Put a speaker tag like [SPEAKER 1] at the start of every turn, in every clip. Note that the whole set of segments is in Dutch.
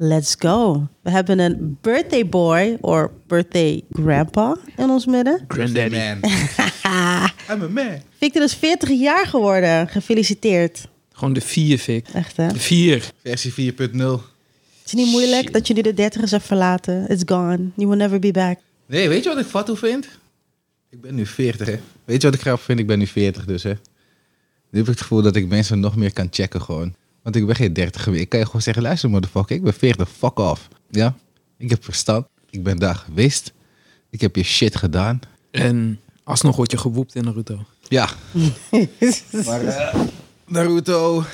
[SPEAKER 1] Let's go. We hebben een birthday boy or birthday grandpa in ons midden.
[SPEAKER 2] Granddaddy.
[SPEAKER 3] Man. I'm a man.
[SPEAKER 1] Victor is 40 jaar geworden. Gefeliciteerd.
[SPEAKER 2] Gewoon de vier, Vic.
[SPEAKER 1] Echt hè?
[SPEAKER 2] De vier.
[SPEAKER 3] Versie 4.0.
[SPEAKER 1] Het is niet moeilijk
[SPEAKER 2] Shit.
[SPEAKER 1] dat je nu de dertigers hebt verlaten. It's gone. You will never be back.
[SPEAKER 3] Nee, weet je wat ik fatu vind? Ik ben nu 40, hè. Weet je wat ik grappig vind? Ik ben nu 40 dus, hè. Nu heb ik het gevoel dat ik mensen nog meer kan checken gewoon. Want ik ben geen 30 meer. Ik kan je gewoon zeggen, luister motherfucker, ik ben 40, fuck off. Ja? Ik heb verstand. Ik ben daar geweest. Ik heb je shit gedaan.
[SPEAKER 2] En alsnog word je gewoept in Naruto.
[SPEAKER 3] Ja. maar eh, Naruto,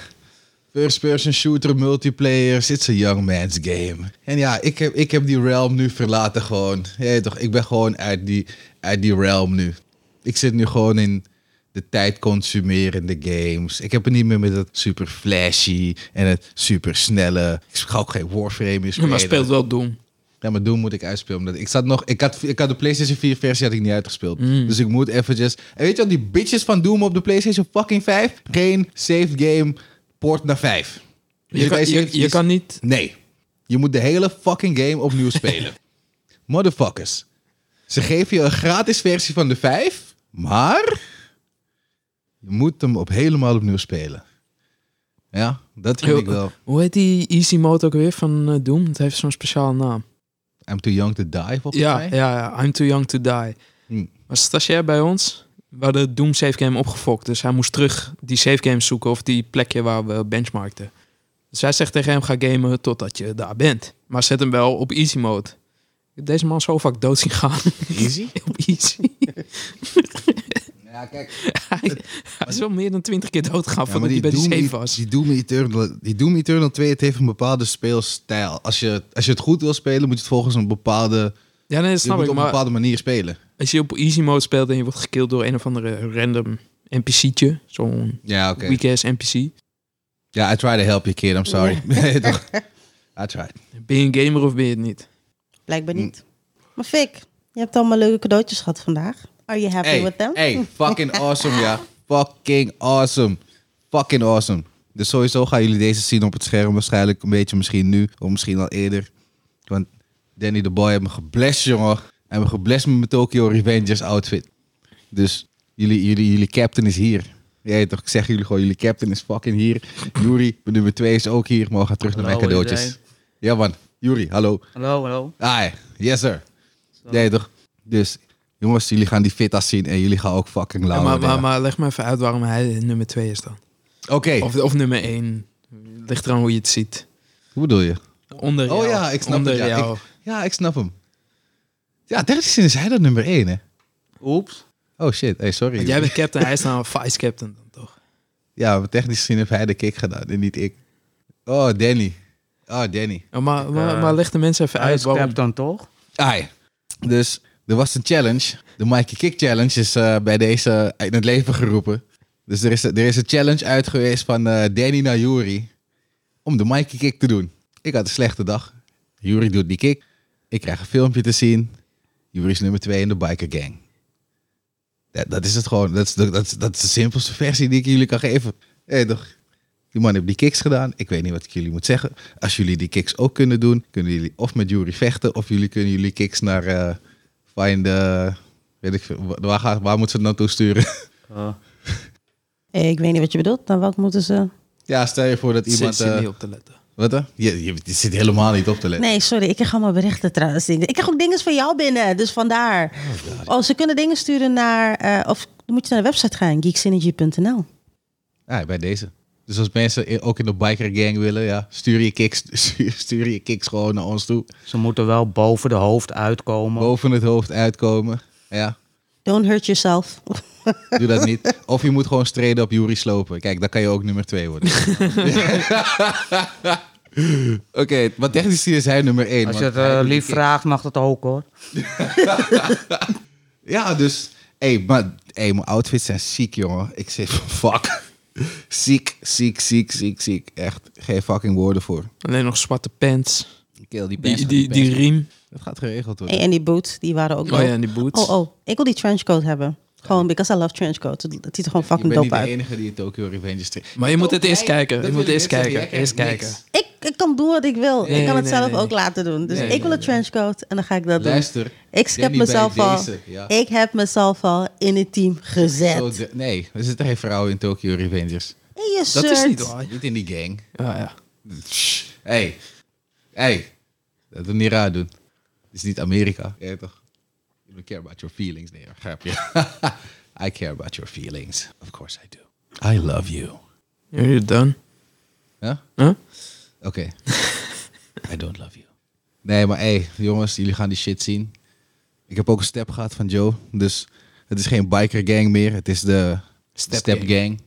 [SPEAKER 3] first person shooter, multiplayer, it's a young man's game. En ja, ik heb, ik heb die realm nu verlaten gewoon. Je weet toch, ik ben gewoon uit die, uit die realm nu. Ik zit nu gewoon in de tijd consumerende games. Ik heb het niet meer met dat super flashy en het super snelle. Ik ga ook geen Warframe meer spelen.
[SPEAKER 2] Maar speelt wel Doom.
[SPEAKER 3] Ja, maar Doom moet ik uitspelen. Omdat ik, zat nog, ik, had, ik had de PlayStation 4 versie had ik niet uitgespeeld.
[SPEAKER 2] Mm.
[SPEAKER 3] Dus ik moet eventjes... En weet je wat, die bitches van Doom op de PlayStation fucking 5? Geen save game port naar 5. Dus
[SPEAKER 2] Je kan,
[SPEAKER 3] weet
[SPEAKER 2] je, je kan niet...
[SPEAKER 3] Nee. Je moet de hele fucking game opnieuw spelen. Motherfuckers. Ze geven je een gratis versie van de 5, maar... Je moet hem op helemaal opnieuw spelen. Ja, dat vind
[SPEAKER 2] Heel-
[SPEAKER 3] ik wel.
[SPEAKER 2] Hoe heet die easy mode ook weer van eh, Doom? Het heeft zo'n speciale naam.
[SPEAKER 3] I'm too young to die, volgens
[SPEAKER 2] Ja,
[SPEAKER 3] mij.
[SPEAKER 2] ja, ja, I'm too young to die.
[SPEAKER 3] Hm.
[SPEAKER 2] Maar stagiair bij ons, we hadden Doom save game opgefokt. Dus hij moest terug die save game zoeken of die plekje waar we benchmarkten. Dus hij zegt tegen hem, ga gamen totdat je daar bent. Maar zet hem wel op easy mode. Ik heb deze man zo vaak dood zien gaan
[SPEAKER 3] Easy?
[SPEAKER 2] op easy.
[SPEAKER 3] Ja, kijk.
[SPEAKER 2] hij, hij is wel meer dan twintig keer dood gegaan
[SPEAKER 3] Ja, maar
[SPEAKER 2] voordat hij bij die
[SPEAKER 3] Doom,
[SPEAKER 2] save
[SPEAKER 3] die-
[SPEAKER 2] was.
[SPEAKER 3] Die Doom, Eternal, die Doom Eternal 2 het heeft een bepaalde speelstijl. Als je, als je het goed wil spelen, moet je het volgens een bepaalde,
[SPEAKER 2] Ja, nee, dat
[SPEAKER 3] je moet
[SPEAKER 2] snap ik.
[SPEAKER 3] op een
[SPEAKER 2] Maar
[SPEAKER 3] bepaalde manier spelen.
[SPEAKER 2] als je op easy mode speelt en je wordt gekild door een of andere random NPC'tje. Zo'n
[SPEAKER 3] Ja, oké.
[SPEAKER 2] weak-ass NPC.
[SPEAKER 3] Ja, I tried to help you, kid. I'm sorry. Nee, toch? I tried.
[SPEAKER 2] Ben je een gamer of ben je het niet?
[SPEAKER 1] Blijkbaar niet. Maar Fik, je hebt allemaal leuke cadeautjes gehad vandaag. Are you happy
[SPEAKER 3] Hey,
[SPEAKER 1] with them?
[SPEAKER 3] hey, fucking awesome, ja. Fucking awesome. Fucking awesome. Dus sowieso gaan jullie deze zien op het scherm. Waarschijnlijk een beetje misschien nu, of misschien al eerder. Want Danny de Boy heeft me geblest, jongen. Hij heeft me geblest met mijn Tokyo Revengers outfit. Dus jullie, jullie, jullie captain is hier. Ja, toch? Ik zeg jullie gewoon, jullie captain is fucking hier. Yuri, mijn nummer 2 is ook hier. Maar we gaan terug naar mijn
[SPEAKER 4] Hallo,
[SPEAKER 3] cadeautjes.
[SPEAKER 4] iedereen.
[SPEAKER 3] Ja, man. Yuri, hallo.
[SPEAKER 4] Hallo, hallo.
[SPEAKER 3] Ah, yes, sir.
[SPEAKER 4] Zo.
[SPEAKER 3] Nee, toch? Dus, jongens, jullie gaan die fitas zien en jullie gaan ook fucking
[SPEAKER 2] Ja,
[SPEAKER 3] lauw
[SPEAKER 2] maar, maar,
[SPEAKER 3] worden.
[SPEAKER 2] maar leg me even uit waarom hij nummer 2 is dan.
[SPEAKER 3] Oké,
[SPEAKER 2] Of, of nummer 1. Ligt eraan hoe je het ziet.
[SPEAKER 3] hoe bedoel je?
[SPEAKER 2] Onder
[SPEAKER 3] Oh
[SPEAKER 2] jou.
[SPEAKER 3] ja, ik snap
[SPEAKER 2] Onder
[SPEAKER 3] het, ja.
[SPEAKER 2] jou.
[SPEAKER 3] Ja, ik snap hem. Ja, technisch gezien is hij dat nummer één, hè?
[SPEAKER 4] Oeps.
[SPEAKER 3] Oh shit, hey, sorry.
[SPEAKER 2] Want jij bent captain, hij is nou een vice captain dan toch?
[SPEAKER 3] Ja, maar technisch gezien heeft hij de kick gedaan en niet ik. Oh, Danny. Oh, Danny.
[SPEAKER 2] Ja, maar, maar,
[SPEAKER 4] eh,
[SPEAKER 2] maar leg de mensen even uit waarom.
[SPEAKER 4] Uitschap dan toch?
[SPEAKER 3] Ai. Dus, er was een challenge. De Mikey Kick Challenge is eh, bij deze in het leven geroepen. Dus er is, er is een challenge uit geweest van eh, Danny naar Yuri. om de Mikey kick te doen. Ik had een slechte dag. Jury doet die kick. Ik krijg een filmpje te zien. Jury is nummer twee in de biker gang. Dat, dat is het gewoon. Dat is, de, dat, is, dat is de simpelste versie die ik jullie kan geven. Hé, toch? Die man heeft die kicks gedaan. Ik weet niet wat ik jullie moet zeggen. Als jullie die kicks ook kunnen doen, kunnen jullie of met Jury vechten, of jullie kunnen jullie kicks naar eh Find. eh, weet ik veel. Wa- Waar, gaat- waar moeten ze het naartoe sturen?
[SPEAKER 4] Eh,
[SPEAKER 1] Eh, Ik weet niet wat je bedoelt. Dan wat moeten ze...
[SPEAKER 3] ja, stel je voor dat
[SPEAKER 2] Zit-
[SPEAKER 3] iemand.
[SPEAKER 2] zit
[SPEAKER 3] eh,
[SPEAKER 2] niet op te letten.
[SPEAKER 3] wat dan? Je, je, je zit helemaal niet op te letten.
[SPEAKER 1] Nee, sorry. Ik krijg allemaal berichten trouwens. Ik krijg ook dingen van jou binnen. Dus vandaar. Oh, ze kunnen dingen sturen naar... eh, of dan moet je naar de website gaan. geeksynergy.nl
[SPEAKER 3] Ja, bij deze. Dus als mensen i- ook in de biker gang willen, ja, stuur je kicks, stuur, stuur je kicks gewoon naar ons toe.
[SPEAKER 4] Ze moeten wel boven de hoofd uitkomen.
[SPEAKER 3] Boven het hoofd uitkomen. Ja,
[SPEAKER 1] Don't hurt yourself.
[SPEAKER 3] doe dat niet. Of je moet gewoon streden op Jury slopen. Kijk, dan kan je ook nummer twee worden. Oké, maar technisch gezien is hij nummer één.
[SPEAKER 4] Als je
[SPEAKER 3] want
[SPEAKER 4] het
[SPEAKER 3] hij
[SPEAKER 4] eh,
[SPEAKER 3] doet die
[SPEAKER 4] lief
[SPEAKER 3] kick.
[SPEAKER 4] vraagt, mag dat ook hoor.
[SPEAKER 3] Ja, dus. Hé, maar hey, mijn outfits zijn ziek, jongen. Ik zit van fuck. Ziek, ziek, ziek, ziek, ziek. Echt, geen fucking woorden voor.
[SPEAKER 2] Alleen nog zwarte pants.
[SPEAKER 3] Kill die
[SPEAKER 2] Die, die, die riem.
[SPEAKER 3] Dat gaat geregeld worden.
[SPEAKER 1] en die boots, die waren ook
[SPEAKER 2] Oh
[SPEAKER 1] leuk.
[SPEAKER 2] ja, en die boots.
[SPEAKER 1] Oh, oh. Ik wil die trenchcoat hebben. Gewoon because I love trenchcoat. Het ziet er gewoon fucking
[SPEAKER 3] ik ben niet
[SPEAKER 1] dope
[SPEAKER 3] de
[SPEAKER 1] uit.
[SPEAKER 3] enige die Tokyo Revengers trekt.
[SPEAKER 2] Maar je moet het eerst
[SPEAKER 3] Jij-
[SPEAKER 2] kijken.
[SPEAKER 3] dat
[SPEAKER 2] Je moet
[SPEAKER 3] wil ik
[SPEAKER 2] eerst
[SPEAKER 3] net zeggen,
[SPEAKER 2] kijken.
[SPEAKER 3] jij
[SPEAKER 2] Eerst
[SPEAKER 3] krijgt
[SPEAKER 2] kijken.
[SPEAKER 3] niks.
[SPEAKER 1] Ik, ik kan doen wat ik wil.
[SPEAKER 2] Nee,
[SPEAKER 1] ik kan het
[SPEAKER 2] nee,
[SPEAKER 1] zelf
[SPEAKER 2] nee.
[SPEAKER 1] ook laten doen. Dus
[SPEAKER 2] Nee,
[SPEAKER 1] ik wil
[SPEAKER 2] nee,
[SPEAKER 1] een trenchcoat en dan ga ik dat
[SPEAKER 3] Luister.
[SPEAKER 1] doen. Ik skip
[SPEAKER 3] Danny
[SPEAKER 1] mezelf
[SPEAKER 3] bij
[SPEAKER 1] al.
[SPEAKER 3] deze, ja.
[SPEAKER 1] Ik heb mezelf al in het team gezet.
[SPEAKER 3] Zo de- nee, er zitten geen vrouwen in Tokyo Revengers.
[SPEAKER 1] in je
[SPEAKER 2] Dat
[SPEAKER 1] shirt.
[SPEAKER 2] is niet waar.
[SPEAKER 3] Niet in die gang.
[SPEAKER 2] Ja, ja.
[SPEAKER 3] Hey. Hey. Dat wil niet raar doen. Het is niet Amerika. Ja, toch? You don't care about your feelings. Nee, grapje. I care about your feelings. Of course I do. I love you.
[SPEAKER 2] You're done.
[SPEAKER 3] Huh?
[SPEAKER 2] Huh?
[SPEAKER 3] Oké. I don't love you. Nee, maar hey, jongens, jullie gaan die shit zien. Ik heb ook een step gehad van Joe. Dus het is geen biker gang meer. Het is de step,
[SPEAKER 2] Step
[SPEAKER 3] gang.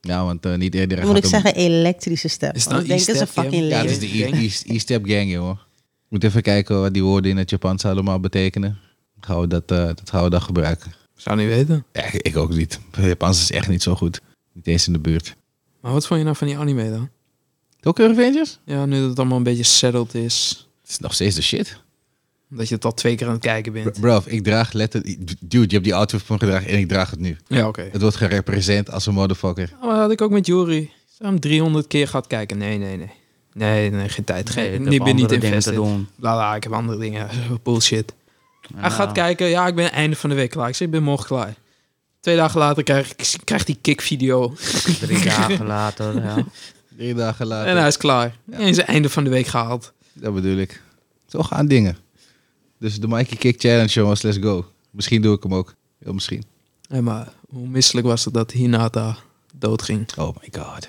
[SPEAKER 3] Ja, want eh, niet eerder
[SPEAKER 1] Dan moet ik zeggen elektrische step.
[SPEAKER 2] Is
[SPEAKER 1] Is
[SPEAKER 2] dat
[SPEAKER 1] dat denken ze
[SPEAKER 2] e-step, ja?
[SPEAKER 1] fucking
[SPEAKER 3] Ja,
[SPEAKER 1] leuk.
[SPEAKER 3] het is de E- E- E-step gang, jongen. Moet even kijken wat die woorden in het Japans allemaal betekenen. Gaan we dat, eh, dat gaan we dan gebruiken.
[SPEAKER 2] Zou niet weten.
[SPEAKER 3] Ja, ik ook niet. Japans is echt niet zo goed. Niet eens in de buurt.
[SPEAKER 2] Maar wat vond je nou van die anime dan?
[SPEAKER 3] Tokyo Revengers?
[SPEAKER 2] Ja, nu dat het allemaal een beetje settled is.
[SPEAKER 3] Het is nog steeds de shit.
[SPEAKER 2] Dat je het al twee keer aan het kijken bent.
[SPEAKER 3] Bro, ik draag letterlijk... Dude, je hebt die outfit van me gedragen en ik draag het nu.
[SPEAKER 2] Ja, oké.
[SPEAKER 3] Het wordt gerepresent als een motherfucker.
[SPEAKER 2] Maar dat had ik ook met Jury. Als je hem 300 keer gaat kijken. Nee, nee, nee. Nee, nee, geen tijd.
[SPEAKER 4] Nee, ik
[SPEAKER 2] Geen,
[SPEAKER 4] heb
[SPEAKER 2] ik ben niet
[SPEAKER 4] andere dingen te
[SPEAKER 2] invested.
[SPEAKER 4] doen.
[SPEAKER 2] La, la, ik heb andere dingen. Bullshit. Hij
[SPEAKER 4] Ja.
[SPEAKER 2] gaat kijken. Ja, ik ben einde van de week klaar. Ik zeg, ik ben morgen klaar. Twee dagen later krijg ik krijg die kickvideo.
[SPEAKER 4] Drie dagen later, ja.
[SPEAKER 3] Drie dagen later.
[SPEAKER 2] En hij is klaar. En is het einde van de week gehaald.
[SPEAKER 3] Dat bedoel ik. Zo gaan dingen. Dus de Mikey Kick Challenge, jongens. Let's go. Misschien doe ik hem ook. Heel misschien.
[SPEAKER 2] Ja, maar hoe misselijk was het dat Hinata doodging?
[SPEAKER 3] Oh my god.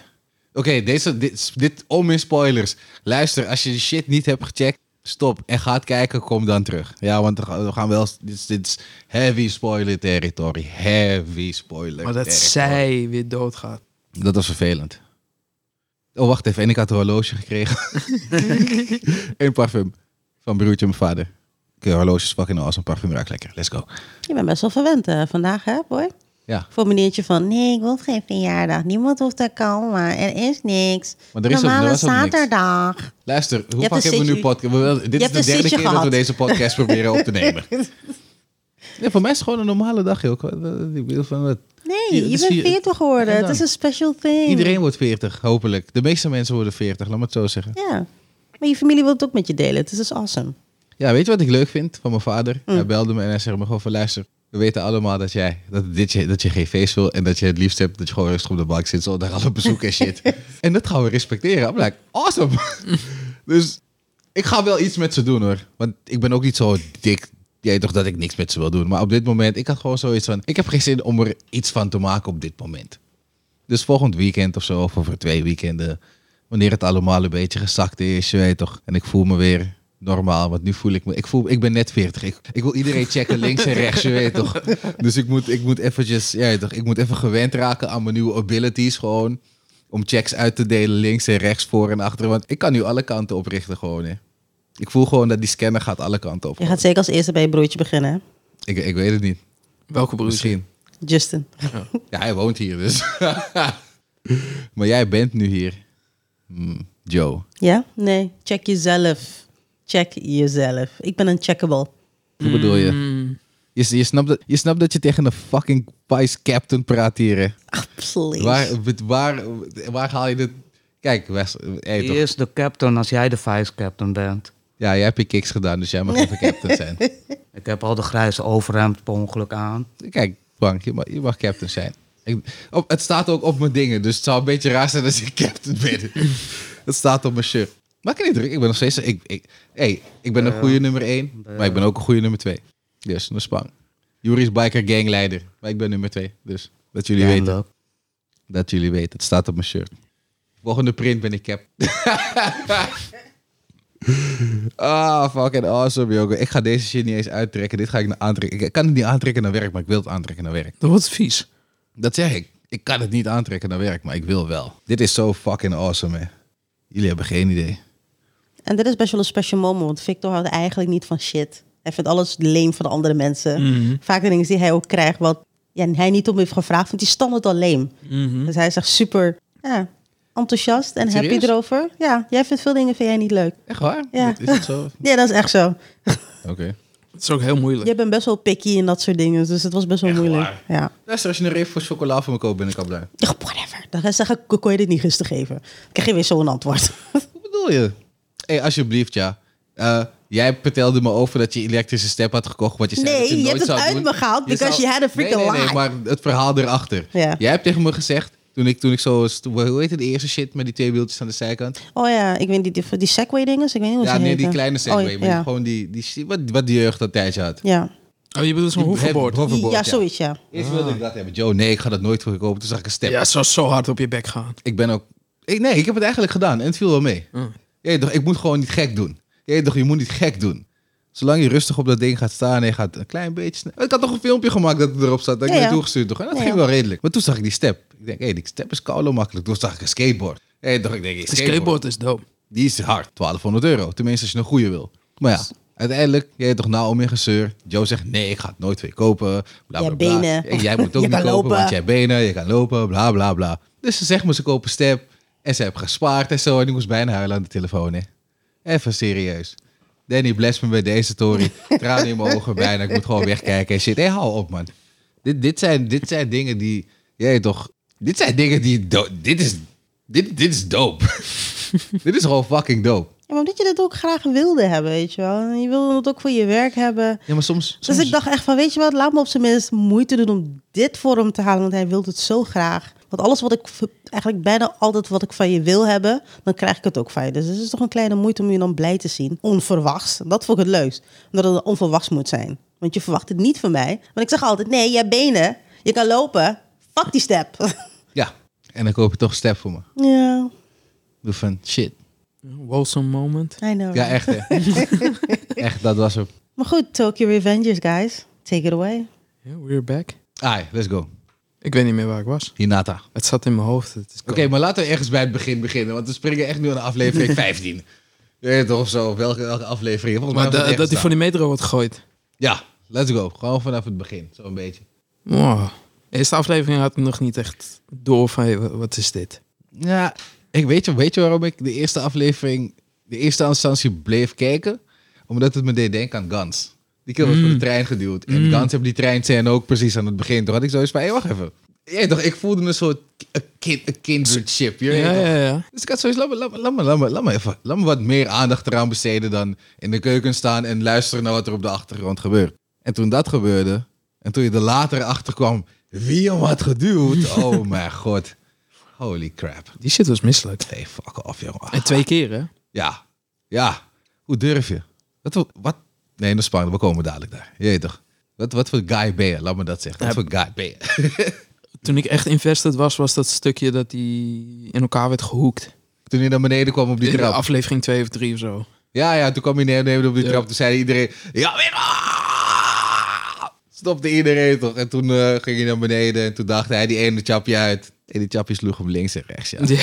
[SPEAKER 3] Oké, deze dit, dit om in spoilers. Luister, als je die shit niet hebt gecheckt, stop en gaat kijken, kom dan terug. Ja, want we gaan we gaan wel. Dit, is- dit is heavy spoiler territory. Heavy spoiler.
[SPEAKER 2] Maar dat
[SPEAKER 3] territory.
[SPEAKER 2] zij weer doodgaat.
[SPEAKER 3] Dat was vervelend. Oh, wacht even. En ik had een horloge gekregen. Eén parfum. Van broertje en mijn vader. eh, Oké, horloge is fucking awesome. nou, Parfum ruikt lekker. Let's go.
[SPEAKER 1] Je bent best wel verwend eh, vandaag, hè, boy?
[SPEAKER 3] Ja.
[SPEAKER 1] Voor meneertje van, nee, ik wil geen verjaardag. Niemand hoeft te komen. Er is niks.
[SPEAKER 3] Maar er is ook- er
[SPEAKER 1] Normale
[SPEAKER 3] was ook niks.
[SPEAKER 1] zaterdag.
[SPEAKER 3] Luister, hoe
[SPEAKER 1] hebt
[SPEAKER 3] vaak
[SPEAKER 1] een
[SPEAKER 3] hebben we
[SPEAKER 1] zitje-
[SPEAKER 3] nu podcast? we- Dit is
[SPEAKER 1] hebt
[SPEAKER 3] de
[SPEAKER 1] een
[SPEAKER 3] derde
[SPEAKER 1] zitje
[SPEAKER 3] keer dat we
[SPEAKER 1] gehad.
[SPEAKER 3] deze podcast proberen op te nemen. Nee, voor mij is het gewoon een normale dag, joh. Ik bedoel van, eh, wat-
[SPEAKER 1] Nee,
[SPEAKER 3] het
[SPEAKER 1] je
[SPEAKER 3] is
[SPEAKER 1] bent
[SPEAKER 3] vier-
[SPEAKER 1] 40 geworden.
[SPEAKER 3] dus eh, Ja,
[SPEAKER 1] Het is een special thing.
[SPEAKER 3] Iedereen wordt 40, hopelijk. De meeste mensen worden 40, laat me het zo zeggen.
[SPEAKER 1] Ja. Maar je familie wil het ook met je delen. Het is dus awesome.
[SPEAKER 3] Ja, weet je wat ik leuk vind van mijn vader? Hij belde me en hij zegt me gewoon van luister, we weten allemaal dat jij dat, dit je, dat je geen feest wil en dat je het liefst hebt dat je gewoon rustig op de bank zit zonder alle bezoek en shit. en dat gaan we respecteren. I'm like, awesome. dus ik ga wel iets met ze doen hoor. Want ik ben ook niet zo dik. Jij toch dat ik niks met ze wil doen. Maar op dit moment, ik had gewoon zoiets van, ik heb geen zin om er iets van te maken op dit moment. Dus volgend weekend of zo, of over twee weekenden. Wanneer het allemaal een beetje gezakt is, je weet toch. En ik voel me weer normaal, want nu voel ik me... Ik, voel, ik ben net 40. Ik, ik wil iedereen checken, links en rechts, je weet toch. Dus ik moet, ik moet eventjes, ja, je weet toch. Ik moet even gewend raken aan mijn nieuwe abilities gewoon. Om checks uit te delen, links en rechts, voor en achter. Want ik kan nu alle kanten oprichten gewoon, hè. Ik voel gewoon dat die scanner gaat alle kanten op.
[SPEAKER 1] Je gaat zeker als eerste bij je broertje beginnen, hè?
[SPEAKER 3] Ik, ik weet het niet.
[SPEAKER 2] Welke broer?
[SPEAKER 3] Misschien.
[SPEAKER 1] Justin.
[SPEAKER 3] Ja, hij woont hier dus. maar jij bent nu hier. Hmm, Joe.
[SPEAKER 1] Ja? Nee. Check jezelf. Check jezelf. Ik ben een checkable.
[SPEAKER 3] Hoe bedoel je? Je, je, snapt dat, je snapt dat je tegen een fucking vice captain praat hier. hè?
[SPEAKER 1] Ach, please.
[SPEAKER 3] Waar, wat- waar, waar haal je dit? Kijk, Wes, eh, hey,
[SPEAKER 4] Wie
[SPEAKER 3] toch?
[SPEAKER 4] is de captain als jij de vice captain bent?
[SPEAKER 3] ja, jij hebt je kicks gedaan, dus jij mag even captain zijn.
[SPEAKER 4] Ik heb al de grijze overhemd per ongeluk aan.
[SPEAKER 3] Kijk, Frank, je mag, je mag captain zijn. Ik, op, het staat ook op mijn dingen, dus het zou een beetje raar zijn als ik captain ben. het staat op mijn shirt. Maak je niet druk, ik ben nog steeds... Ik, ik, hey, ik ben een goede nummer één, maar ik ben ook een goede nummer twee. Dus, dat is bang. Juri is biker gangleider, maar ik ben nummer twee. Dus, dat jullie
[SPEAKER 4] Ja,
[SPEAKER 3] weten.
[SPEAKER 4] leuk.
[SPEAKER 3] Dat jullie weten, het staat op mijn shirt. Volgende print ben ik cap. ah, fucking awesome, jongen. Ik ga deze shit niet eens uittrekken. Dit ga ik nou aantrekken. Ik kan het niet aantrekken naar werk, maar ik wil het aantrekken naar werk.
[SPEAKER 2] Dat wordt vies.
[SPEAKER 3] Dat zeg ik. Ik kan het niet aantrekken naar werk, maar ik wil wel. Dit is zo fucking awesome, hè. Jullie hebben geen idee.
[SPEAKER 1] En dit is best wel een special moment. Want Victor houdt eigenlijk niet van shit. Hij vindt alles leem van de andere mensen.
[SPEAKER 3] Mhm.
[SPEAKER 1] Vaak de dingen die hij ook krijgt, wat ja, hij niet om heeft gevraagd, vindt hij standaard al leem. Dus hij is echt super ja, enthousiast en
[SPEAKER 3] Mhm. Serieus?
[SPEAKER 1] happy erover. Ja, jij vindt veel dingen vind jij niet leuk.
[SPEAKER 3] Echt waar?
[SPEAKER 1] Ja.
[SPEAKER 3] Is dat zo?
[SPEAKER 1] Ja, dat is echt zo.
[SPEAKER 3] Oké.
[SPEAKER 2] Dat is ook heel moeilijk.
[SPEAKER 1] Je bent best wel picky in dat soort dingen, dus het was best wel moeilijk. Ja.
[SPEAKER 3] Luister, als je een reep voor chocola voor me koopt, ben ik al blij.
[SPEAKER 1] Ja, Whatever. Dan ga je zeggen, "Ko- kon je dit niet rustig geven? Dan krijg je weer zo'n antwoord.
[SPEAKER 3] Wat bedoel je? Hé, alsjeblieft, ja. Eh, jij vertelde me over dat je elektrische step had gekocht, wat je zei dat
[SPEAKER 1] Nee, je
[SPEAKER 3] je nooit
[SPEAKER 1] hebt het
[SPEAKER 3] zou
[SPEAKER 1] uit
[SPEAKER 3] doen.
[SPEAKER 1] me gehaald, because you had a freaking
[SPEAKER 3] nee, nee, nee,
[SPEAKER 1] lie.
[SPEAKER 3] maar het verhaal erachter.
[SPEAKER 1] Ja.
[SPEAKER 3] Jij hebt tegen me gezegd, toen ik, toen ik zo... Hoe heet het, de eerste shit met die twee wieltjes aan de zijkant?
[SPEAKER 1] Oh ja, ik weet niet, die, die Segway dingen, ik weet niet hoe ze
[SPEAKER 3] ja, nee, die
[SPEAKER 1] heten.
[SPEAKER 3] kleine Segway.
[SPEAKER 1] Oh,
[SPEAKER 3] maar
[SPEAKER 1] ja.
[SPEAKER 3] Gewoon die, die, wat, wat die jeugd dat tijdje had.
[SPEAKER 1] Ja.
[SPEAKER 2] Oh, je bedoelt zo'n
[SPEAKER 3] Die-
[SPEAKER 2] hoverboard.
[SPEAKER 3] het hoverboard,
[SPEAKER 1] ja, zoiets, ja.
[SPEAKER 3] Eerst wilde ik dat hebben. Joe, nee, ik ga dat nooit voor je kopen. Toen zag ik een step.
[SPEAKER 2] Ja, het zou zo hard op je bek gaan.
[SPEAKER 3] Ik ben ook... Ik, nee, ik heb het eigenlijk gedaan en het viel wel mee.
[SPEAKER 2] Mm.
[SPEAKER 3] Je weet toch, ik moet gewoon niet gek doen. Je, weet toch, je moet niet gek doen. Zolang je rustig op dat ding gaat staan en je gaat een klein beetje... sne- Ik had toch een filmpje gemaakt dat het erop zat. Dat ik
[SPEAKER 1] Ja,
[SPEAKER 3] ja,
[SPEAKER 1] ja.
[SPEAKER 3] naartoe gestuurd toch? En dat
[SPEAKER 1] Ja,
[SPEAKER 3] ging
[SPEAKER 1] ja.
[SPEAKER 3] wel redelijk. Maar toen zag ik die step. Ik denk, hé, die step is koude makkelijk. Toen zag ik een skateboard. Hé, toch, ik denk, hey,
[SPEAKER 2] De
[SPEAKER 3] skateboard.
[SPEAKER 2] skateboard is dope.
[SPEAKER 3] Die is hard. 1200 euro. Tenminste, als je een goede wil. Maar ja, uiteindelijk, jij toch nou om in gezeur. Joe zegt, nee, ik ga het nooit weer kopen. Bla,
[SPEAKER 1] Jij
[SPEAKER 3] bla, bla.
[SPEAKER 1] benen.
[SPEAKER 3] Ik- Jij moet het ook
[SPEAKER 1] Je
[SPEAKER 3] niet
[SPEAKER 1] kan
[SPEAKER 3] kopen,
[SPEAKER 1] lopen.
[SPEAKER 3] want jij benen, je kan lopen, bla, bla, bla. Dus ze zegt me, ze kopen step. En ze hebben gespaard en zo. En ik moest bijna huilen aan de telefoon, hè. Even serieus. Danny bless me bij deze story. Tranen in mijn ogen bijna. Ik moet gewoon wegkijken en shit. Hé, hou op, man. Dit, dit, zijn, dit zijn dingen die... Jij toch... Dit zijn dingen die... do- dit is... Dit, dit is dope. dit is gewoon fucking dope.
[SPEAKER 1] Ja, maar omdat je dit ook graag wilde hebben, weet je wel. En je wilde het ook voor je werk hebben.
[SPEAKER 3] Ja, maar soms... soms
[SPEAKER 1] Dus ik dacht echt van, weet je wat, laat me op zijn minst moeite doen om dit voor hem te halen. Want hij wil het zo graag. Want alles wat ik, v- eigenlijk bijna altijd wat ik van je wil hebben, dan krijg ik het ook van je. Dus het is toch een kleine moeite om je dan blij te zien. Onverwachts. Dat vond ik het leukst. Omdat het onverwachts moet zijn. Want je verwacht het niet van mij. Want ik zeg altijd, nee, je hebt benen. Je kan lopen. Fuck die step.
[SPEAKER 3] Ja. En dan koop je toch een step voor me.
[SPEAKER 1] ja,
[SPEAKER 3] Doe van, shit.
[SPEAKER 2] Wholesome moment.
[SPEAKER 1] I know.
[SPEAKER 3] Ja, echt, hè. echt, dat was hem.
[SPEAKER 1] Maar goed, Tokyo Revengers, guys. Take it away.
[SPEAKER 2] Ja, we're back.
[SPEAKER 3] Ai, Ah, let's go.
[SPEAKER 2] Ik weet niet meer waar ik was.
[SPEAKER 3] Hinata. Oké,
[SPEAKER 2] Het zat in mijn hoofd. Het is koud.
[SPEAKER 3] maar laten we ergens bij het begin beginnen. Want we springen echt nu aan aflevering 15. Je weet toch, of zo. Welke, welke aflevering? Volgens
[SPEAKER 2] Maar
[SPEAKER 3] mij was
[SPEAKER 2] da-
[SPEAKER 3] het
[SPEAKER 2] dat hij
[SPEAKER 3] ergens
[SPEAKER 2] van
[SPEAKER 3] daar.
[SPEAKER 2] die metro wordt gegooid.
[SPEAKER 3] Ja, let's go. Gewoon vanaf het begin. Zo'n beetje.
[SPEAKER 2] Wow. Eerste aflevering had ik nog niet echt door van, hey, wa- wat is dit?
[SPEAKER 3] Ja, ik weet, je, weet je waarom ik de eerste aflevering, de eerste instantie bleef kijken? Omdat het me deed denken aan Guns. Die keer was
[SPEAKER 2] Mm.
[SPEAKER 3] voor de trein geduwd. En Guns hebben die treinscène ook precies aan het begin. Toen had ik zoiets van, hé, wacht even. Ja, toch, ik voelde me een soort een kind, een kindred ship. Je weet
[SPEAKER 2] Ja,
[SPEAKER 3] toch?
[SPEAKER 2] ja, ja.
[SPEAKER 3] Dus ik had zoiets, laat me, laat, me, laat, me, laat, me, laat, me even, laat me wat meer aandacht eraan besteden dan in de keuken staan en luisteren naar wat er op de achtergrond gebeurt. En toen dat gebeurde, en toen je er later achter kwam, wie hem had geduwd, oh mijn god. Holy crap.
[SPEAKER 2] Die shit was misselijk.
[SPEAKER 3] Nee, fuck off, jongen.
[SPEAKER 2] En twee keer, hè?
[SPEAKER 3] Ja, ja. Hoe durf je? Wat? wat? Nee, dat is spannend. We komen dadelijk daar. Je weet toch? Wat, wat voor guy ben je? Laat me dat zeggen. Wat voor guy ben je?
[SPEAKER 2] Toen ik echt invested was, was dat stukje dat hij in elkaar werd gehoekt.
[SPEAKER 3] Toen hij naar beneden kwam op die
[SPEAKER 2] In de
[SPEAKER 3] trap.
[SPEAKER 2] aflevering 2 of 3 of zo.
[SPEAKER 3] Ja, ja, toen kwam hij naar beneden op die
[SPEAKER 2] Ja.
[SPEAKER 3] trap. Toen zei iedereen... Ja, weer... ah!" Stopte iedereen toch? En toen eh, ging hij naar beneden. En toen dacht hij die ene chapje uit. En die chapje sloeg hem links en rechts. Ja,
[SPEAKER 2] Ja.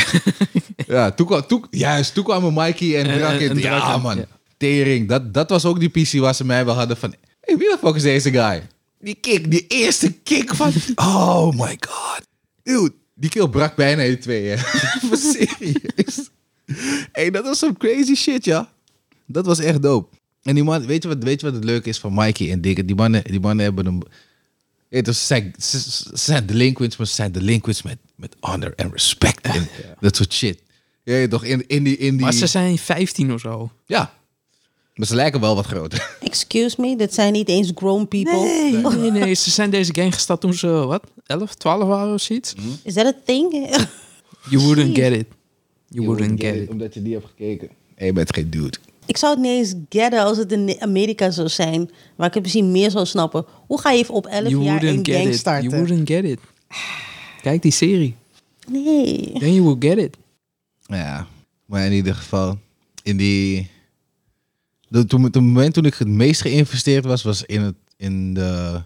[SPEAKER 3] ja toen, kwam, toen, juist, toen kwamen Mikey en,
[SPEAKER 2] En-
[SPEAKER 3] Drakkit.
[SPEAKER 2] en- en
[SPEAKER 3] ja,
[SPEAKER 2] Drakkit,
[SPEAKER 3] man.
[SPEAKER 2] ja.
[SPEAKER 3] Tering. Dat, dat was ook die PC waar ze mij wel hadden van... Hey, wie de fuck is deze guy? Die kick, die eerste kick van... oh my god. Dude, die kill brak bijna in twee, hè. Voor serieus. hey, dat was some crazy shit, ja. Dat was echt dope. En die man, weet je wat, weet je wat het leuke is van Mikey en Dick? Die mannen, die mannen hebben een... Ja, dus ze, zijn, ze, ze zijn delinquents, maar ze zijn delinquents met, met honor en respect. En Dat soort shit. Ja, toch? In, in die, in die,
[SPEAKER 2] Maar ze zijn 15 of zo.
[SPEAKER 3] Ja. Maar ze lijken wel wat groter.
[SPEAKER 1] Excuse me, dit zijn niet eens grown people.
[SPEAKER 2] nee, nee. Ze zijn deze game gestart toen ze, wat, 11, 12 waren of zoiets?
[SPEAKER 1] Is dat een thing?
[SPEAKER 2] You wouldn't get it. You wouldn't get it.
[SPEAKER 3] Omdat je die hebt gekeken. En je bent geen dude.
[SPEAKER 1] ik zou het niet eens getten als het in Amerika zou zijn. Waar ik het misschien meer zou snappen. Hoe ga je even op 11
[SPEAKER 2] You
[SPEAKER 1] jaar een
[SPEAKER 2] wouldn't get
[SPEAKER 1] gang
[SPEAKER 2] it. You
[SPEAKER 1] starten?
[SPEAKER 2] wouldn't get it. Kijk die serie.
[SPEAKER 1] Nee.
[SPEAKER 2] Then you will get it.
[SPEAKER 3] Ja. Maar in ieder geval, in die... de- toen, het moment toen ik het meest geïnvesteerd was, was in het, in de,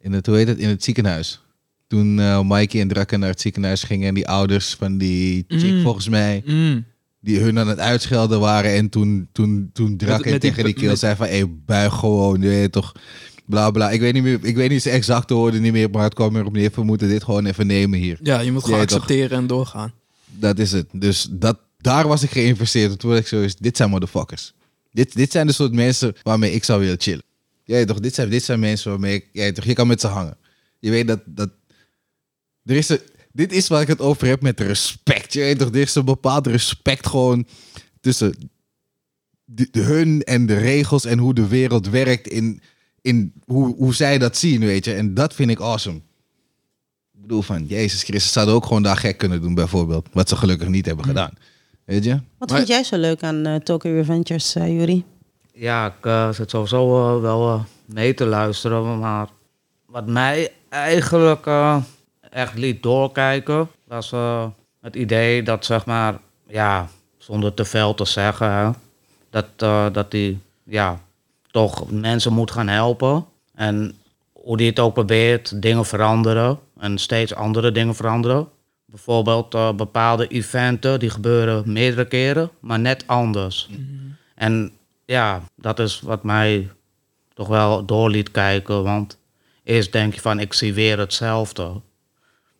[SPEAKER 3] in het, hoe heet het, in het ziekenhuis. Toen eh, Mikey en Drakken naar het ziekenhuis gingen en die ouders van die chick,
[SPEAKER 2] Mm.
[SPEAKER 3] volgens mij...
[SPEAKER 2] Mm.
[SPEAKER 3] die hun aan het uitschelden waren. En toen, toen, toen drak
[SPEAKER 2] Met-
[SPEAKER 3] hij
[SPEAKER 2] met die
[SPEAKER 3] tegen die
[SPEAKER 2] bu-
[SPEAKER 3] keel
[SPEAKER 2] met-
[SPEAKER 3] zei van... Hé, buig gewoon, je weet toch... Bla, bla. Ik weet niet meer, ik weet niet zijn exacte woorden niet meer, maar het kwam erop neer. We moeten dit gewoon even nemen hier.
[SPEAKER 2] Ja, je moet gewoon
[SPEAKER 3] Jij toch?
[SPEAKER 2] accepteren en doorgaan.
[SPEAKER 3] Dat is het. Dus dat, daar was ik geïnvesteerd. En Toen was ik zo is, dit zijn motherfuckers. Dit, dit zijn de soort mensen waarmee ik zou willen chillen. je weet toch, dit zijn, dit zijn mensen waarmee ik, je, weet toch, je kan met ze hangen. Je weet dat, dat er is een, dit is waar ik het over heb met respect. Je weet toch, er is een bepaald respect gewoon tussen de- de- hun en de regels en hoe de wereld werkt in, in hoe, hoe zij dat zien, weet je. En dat vind ik awesome. Ik bedoel van, Jezus Christus zouden ook gewoon daar gek kunnen doen bijvoorbeeld. Wat ze gelukkig niet hebben
[SPEAKER 4] Hmm.
[SPEAKER 3] gedaan. Weet je?
[SPEAKER 1] Wat
[SPEAKER 2] Maar-
[SPEAKER 1] vond jij zo leuk aan eh, Tokyo Revengers, eh Yuri?
[SPEAKER 4] Ja, ik eh, zit sowieso eh, wel eh, mee te luisteren. Maar wat mij eigenlijk eh, echt liet doorkijken, was eh, het idee dat, zeg maar, ja, zonder te veel te zeggen, hè, dat, eh, dat die, ja, toch mensen moet gaan helpen. En hoe die het ook probeert, dingen veranderen en steeds andere dingen veranderen. Bijvoorbeeld eh, bepaalde eventen, die gebeuren meerdere keren, maar net anders. En ja, dat is wat mij toch wel door liet kijken. Want eerst denk je van, ik zie weer hetzelfde.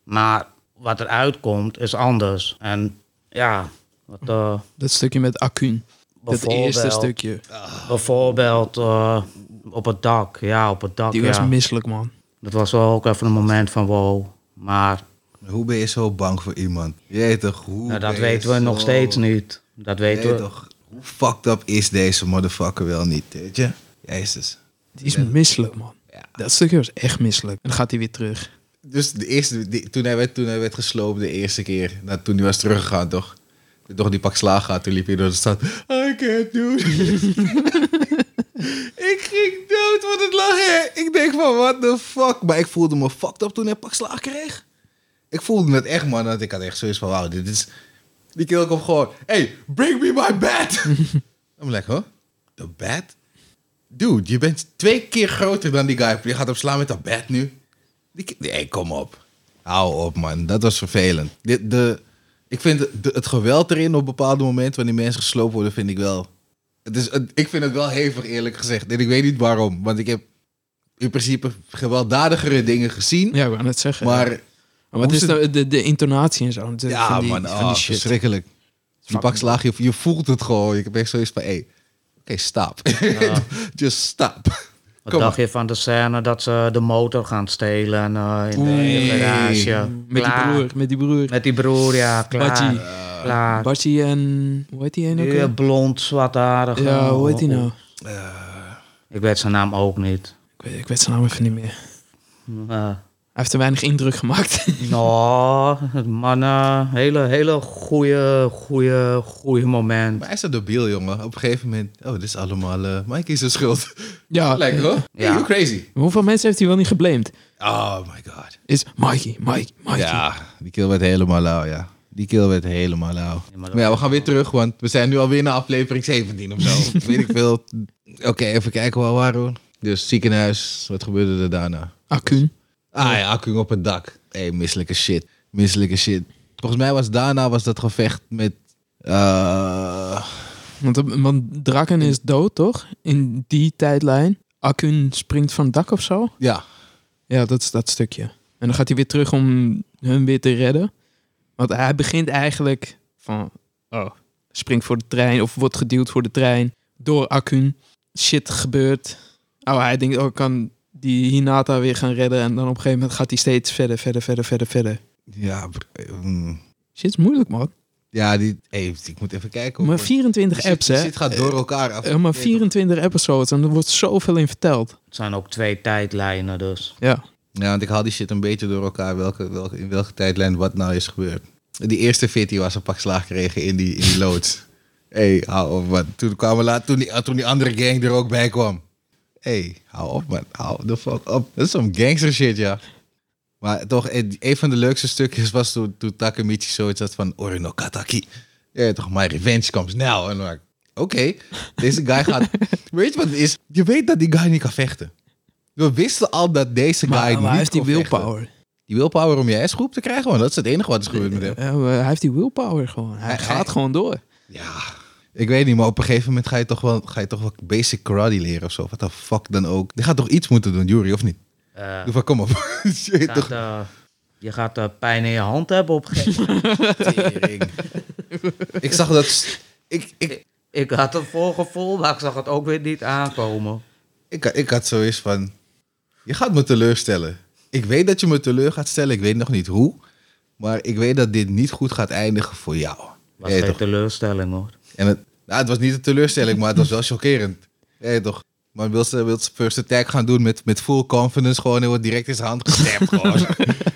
[SPEAKER 4] Maar wat eruit komt, is anders. En ja, wat, eh,
[SPEAKER 2] Dat stukje met Acun. Dat eerste
[SPEAKER 4] Bijvoorbeeld.
[SPEAKER 2] stukje.
[SPEAKER 4] bijvoorbeeld eh, op het dak. Ja, op het dak.
[SPEAKER 2] Die was
[SPEAKER 4] ja.
[SPEAKER 2] misselijk, man.
[SPEAKER 4] Dat was wel ook even een moment van wow. Maar
[SPEAKER 3] Hoe ben je zo bang voor iemand? Jeet toch, hoe
[SPEAKER 4] nou,
[SPEAKER 3] ben
[SPEAKER 4] dat
[SPEAKER 3] je
[SPEAKER 4] weten we nog
[SPEAKER 3] zo-
[SPEAKER 4] steeds niet. Dat weten
[SPEAKER 3] Jeet
[SPEAKER 4] we.
[SPEAKER 3] toch, hoe fucked up is deze motherfucker wel niet, weet je? Jezus.
[SPEAKER 2] Die is misselijk, man.
[SPEAKER 3] Ja.
[SPEAKER 2] Dat stukje was echt misselijk. En dan gaat hij weer terug.
[SPEAKER 3] Dus de eerste, die- toen, hij werd, toen hij werd gesloopt de eerste keer, nou, toen hij was teruggegaan, toch? Toen Toch die pak slaag had, toen liep hij door de stad. I can't do this. ik ging dood van het lachen. Ik denk van, what the fuck? Maar ik voelde me fucked up toen hij pak slaag kreeg. Ik voelde het echt, man. Dat ik had echt zoiets van, wauw, dit is... Die kerel komt gewoon, hey, bring me my bat. I'm like, huh? The bat? Dude, je bent twee keer groter dan die guy. Je gaat hem slaan met dat bat nu. Die, ki- nee, kom op. Hou op, man. Dat was vervelend. De, de, ik vind de- het geweld erin op bepaalde momenten... wanneer mensen gesloopt worden, vind ik wel... Het is, het- ik vind het wel hevig, eerlijk gezegd. En ik weet niet waarom. Want ik heb in principe gewelddadigere dingen gezien.
[SPEAKER 2] Ja, ik wou net zeggen.
[SPEAKER 3] maar
[SPEAKER 2] Maar wat
[SPEAKER 3] hoe
[SPEAKER 2] is nou
[SPEAKER 3] ze-
[SPEAKER 2] de, de, de intonatie en zo? De-
[SPEAKER 3] ja,
[SPEAKER 2] van die,
[SPEAKER 3] man.
[SPEAKER 2] van
[SPEAKER 3] ah,
[SPEAKER 2] die shit.
[SPEAKER 3] verschrikkelijk. Die
[SPEAKER 2] Fucking-
[SPEAKER 3] bakslaag, je, je voelt het gewoon. Ik heb echt zoiets van... Hey, Oké, stop. Just stop.
[SPEAKER 4] Wat
[SPEAKER 3] Kom
[SPEAKER 4] dacht je van de scène dat ze de motor gaan stelen eh, in de- in de garage?
[SPEAKER 2] Met die
[SPEAKER 4] Klaar.
[SPEAKER 2] broer, met die broer.
[SPEAKER 4] Met die broer, ja. Klaar.
[SPEAKER 2] Badji.
[SPEAKER 4] Klaar.
[SPEAKER 2] Bartie en... Hoe heet die een ook?
[SPEAKER 4] Die
[SPEAKER 2] weer?
[SPEAKER 4] blond, zwartharige.
[SPEAKER 2] Ja, hoe heet die
[SPEAKER 3] Oh.
[SPEAKER 2] nou?
[SPEAKER 4] Ik weet zijn naam ook niet.
[SPEAKER 2] Ik weet, ik weet zijn naam even niet meer.
[SPEAKER 4] Eh,
[SPEAKER 2] Hij heeft te weinig indruk gemaakt.
[SPEAKER 4] nou, man, eh, hele, hele goede, goede, goede moment.
[SPEAKER 3] Maar hij is een debiel, jongen. Op een gegeven moment... Oh, dit is allemaal... eh Mike is zijn schuld.
[SPEAKER 2] ja,
[SPEAKER 3] Lekker, hoor. Hey,
[SPEAKER 4] Ja.
[SPEAKER 3] you crazy.
[SPEAKER 2] hoeveel mensen heeft hij wel niet geblamed?
[SPEAKER 3] Oh my god.
[SPEAKER 2] Is Mikey, Mike, Mikey.
[SPEAKER 3] Ja, die kill werd helemaal lauw, ja. Die kill werd helemaal lauw.
[SPEAKER 4] Ja, maar
[SPEAKER 3] maar
[SPEAKER 4] dat-
[SPEAKER 3] ja, we gaan weer terug, want we zijn nu alweer naar aflevering 17 of zo. Weet ik veel. Oké, even kijken waar we waren hoor. Dus ziekenhuis, wat gebeurde er daarna?
[SPEAKER 2] Akun.
[SPEAKER 3] Ah ja, accu op het dak. Hé, hey, misselijke shit. Misselijke shit. Volgens mij was daarna was dat gevecht met... eh,
[SPEAKER 2] Want, want Draken is dood, toch? In die tijdlijn. Akun springt van het dak of zo?
[SPEAKER 3] ja,
[SPEAKER 2] Ja, dat is dat stukje. En dan gaat hij weer terug om hun weer te redden. Want hij begint eigenlijk van... Oh, springt voor de trein of wordt geduwd voor de trein. Door Akun. Shit gebeurt. Oh, hij denkt, oh, ik kan die Hinata weer gaan redden. En dan op een gegeven moment gaat hij steeds verder, verder, verder, verder, verder.
[SPEAKER 3] ja, br- mm.
[SPEAKER 2] Shit is moeilijk, man.
[SPEAKER 3] ja die, hey, ik moet even kijken.
[SPEAKER 2] Maar
[SPEAKER 3] hoor. Die
[SPEAKER 2] 24
[SPEAKER 3] shit-
[SPEAKER 2] apps,
[SPEAKER 3] die
[SPEAKER 2] hè?
[SPEAKER 3] shit gaat door elkaar af.
[SPEAKER 2] Eh, maar 24 episodes en er wordt zoveel in verteld.
[SPEAKER 4] Het zijn ook twee tijdlijnen dus.
[SPEAKER 2] Ja.
[SPEAKER 3] Ja, want ik haal die shit een beetje door elkaar welke, welke, in welke tijdlijn wat nou is gebeurd. Die eerste fit die was een pak slaag kregen in die, in die loods. Hé, hey, hou op man. Toen, kwamen laat, toen, die, toen die andere gang er ook bij kwam. Hé, hey, hou op man. Hou de fuck op. Dat is zo'n gangster shit, ja. Maar toch, eh, die- een van de leukste stukjes was toen, toen Takemichi zoiets had van... Orino Kataki. Ja, toch, my revenge comes now. En dan dacht ik, oké, deze guy gaat... Weet je wat het is? Je weet dat die guy niet kan vechten. We wisten al dat deze guy
[SPEAKER 2] Maar,
[SPEAKER 3] niet
[SPEAKER 2] maar hij heeft die
[SPEAKER 3] kon vechten.
[SPEAKER 2] willpower.
[SPEAKER 3] Die willpower om je S-groep te krijgen, want dat is het enige wat is gebeurd met hem.
[SPEAKER 2] Ja, maar hij heeft die willpower gewoon. Hij,
[SPEAKER 3] Hij-
[SPEAKER 2] gaat
[SPEAKER 3] hij-
[SPEAKER 2] gewoon door.
[SPEAKER 3] Ja, ik weet niet, maar op een gegeven moment ga je toch wel, ga je toch wel basic karate leren of zo. Wat de fuck dan ook. Die gaat toch iets moeten doen, Jury, of niet?
[SPEAKER 4] Eh,
[SPEAKER 3] Doe van, kom op. Je weet
[SPEAKER 4] gaat,
[SPEAKER 3] toch-
[SPEAKER 4] eh, je gaat eh, pijn in je hand hebben op een gegeven moment.
[SPEAKER 3] Tering. ik zag dat... s- Ik, ik,
[SPEAKER 4] Ik had een voorgevoel, maar ik zag het ook weer niet aankomen.
[SPEAKER 3] Ik, ik had zoiets van, je gaat me teleurstellen. Ik weet dat je me teleur gaat stellen, ik weet nog niet hoe. Maar ik weet dat dit niet goed gaat eindigen voor jou.
[SPEAKER 4] Was
[SPEAKER 3] Weet je
[SPEAKER 4] geen
[SPEAKER 3] toch?
[SPEAKER 4] teleurstelling hoor.
[SPEAKER 3] En het, nou, het was niet een teleurstelling, maar het was wel chockerend. Weet je toch? Maar wil ze, wil ze first attack gaan doen met, met full confidence, gewoon en wordt direct in zijn hand gestemd. gewoon.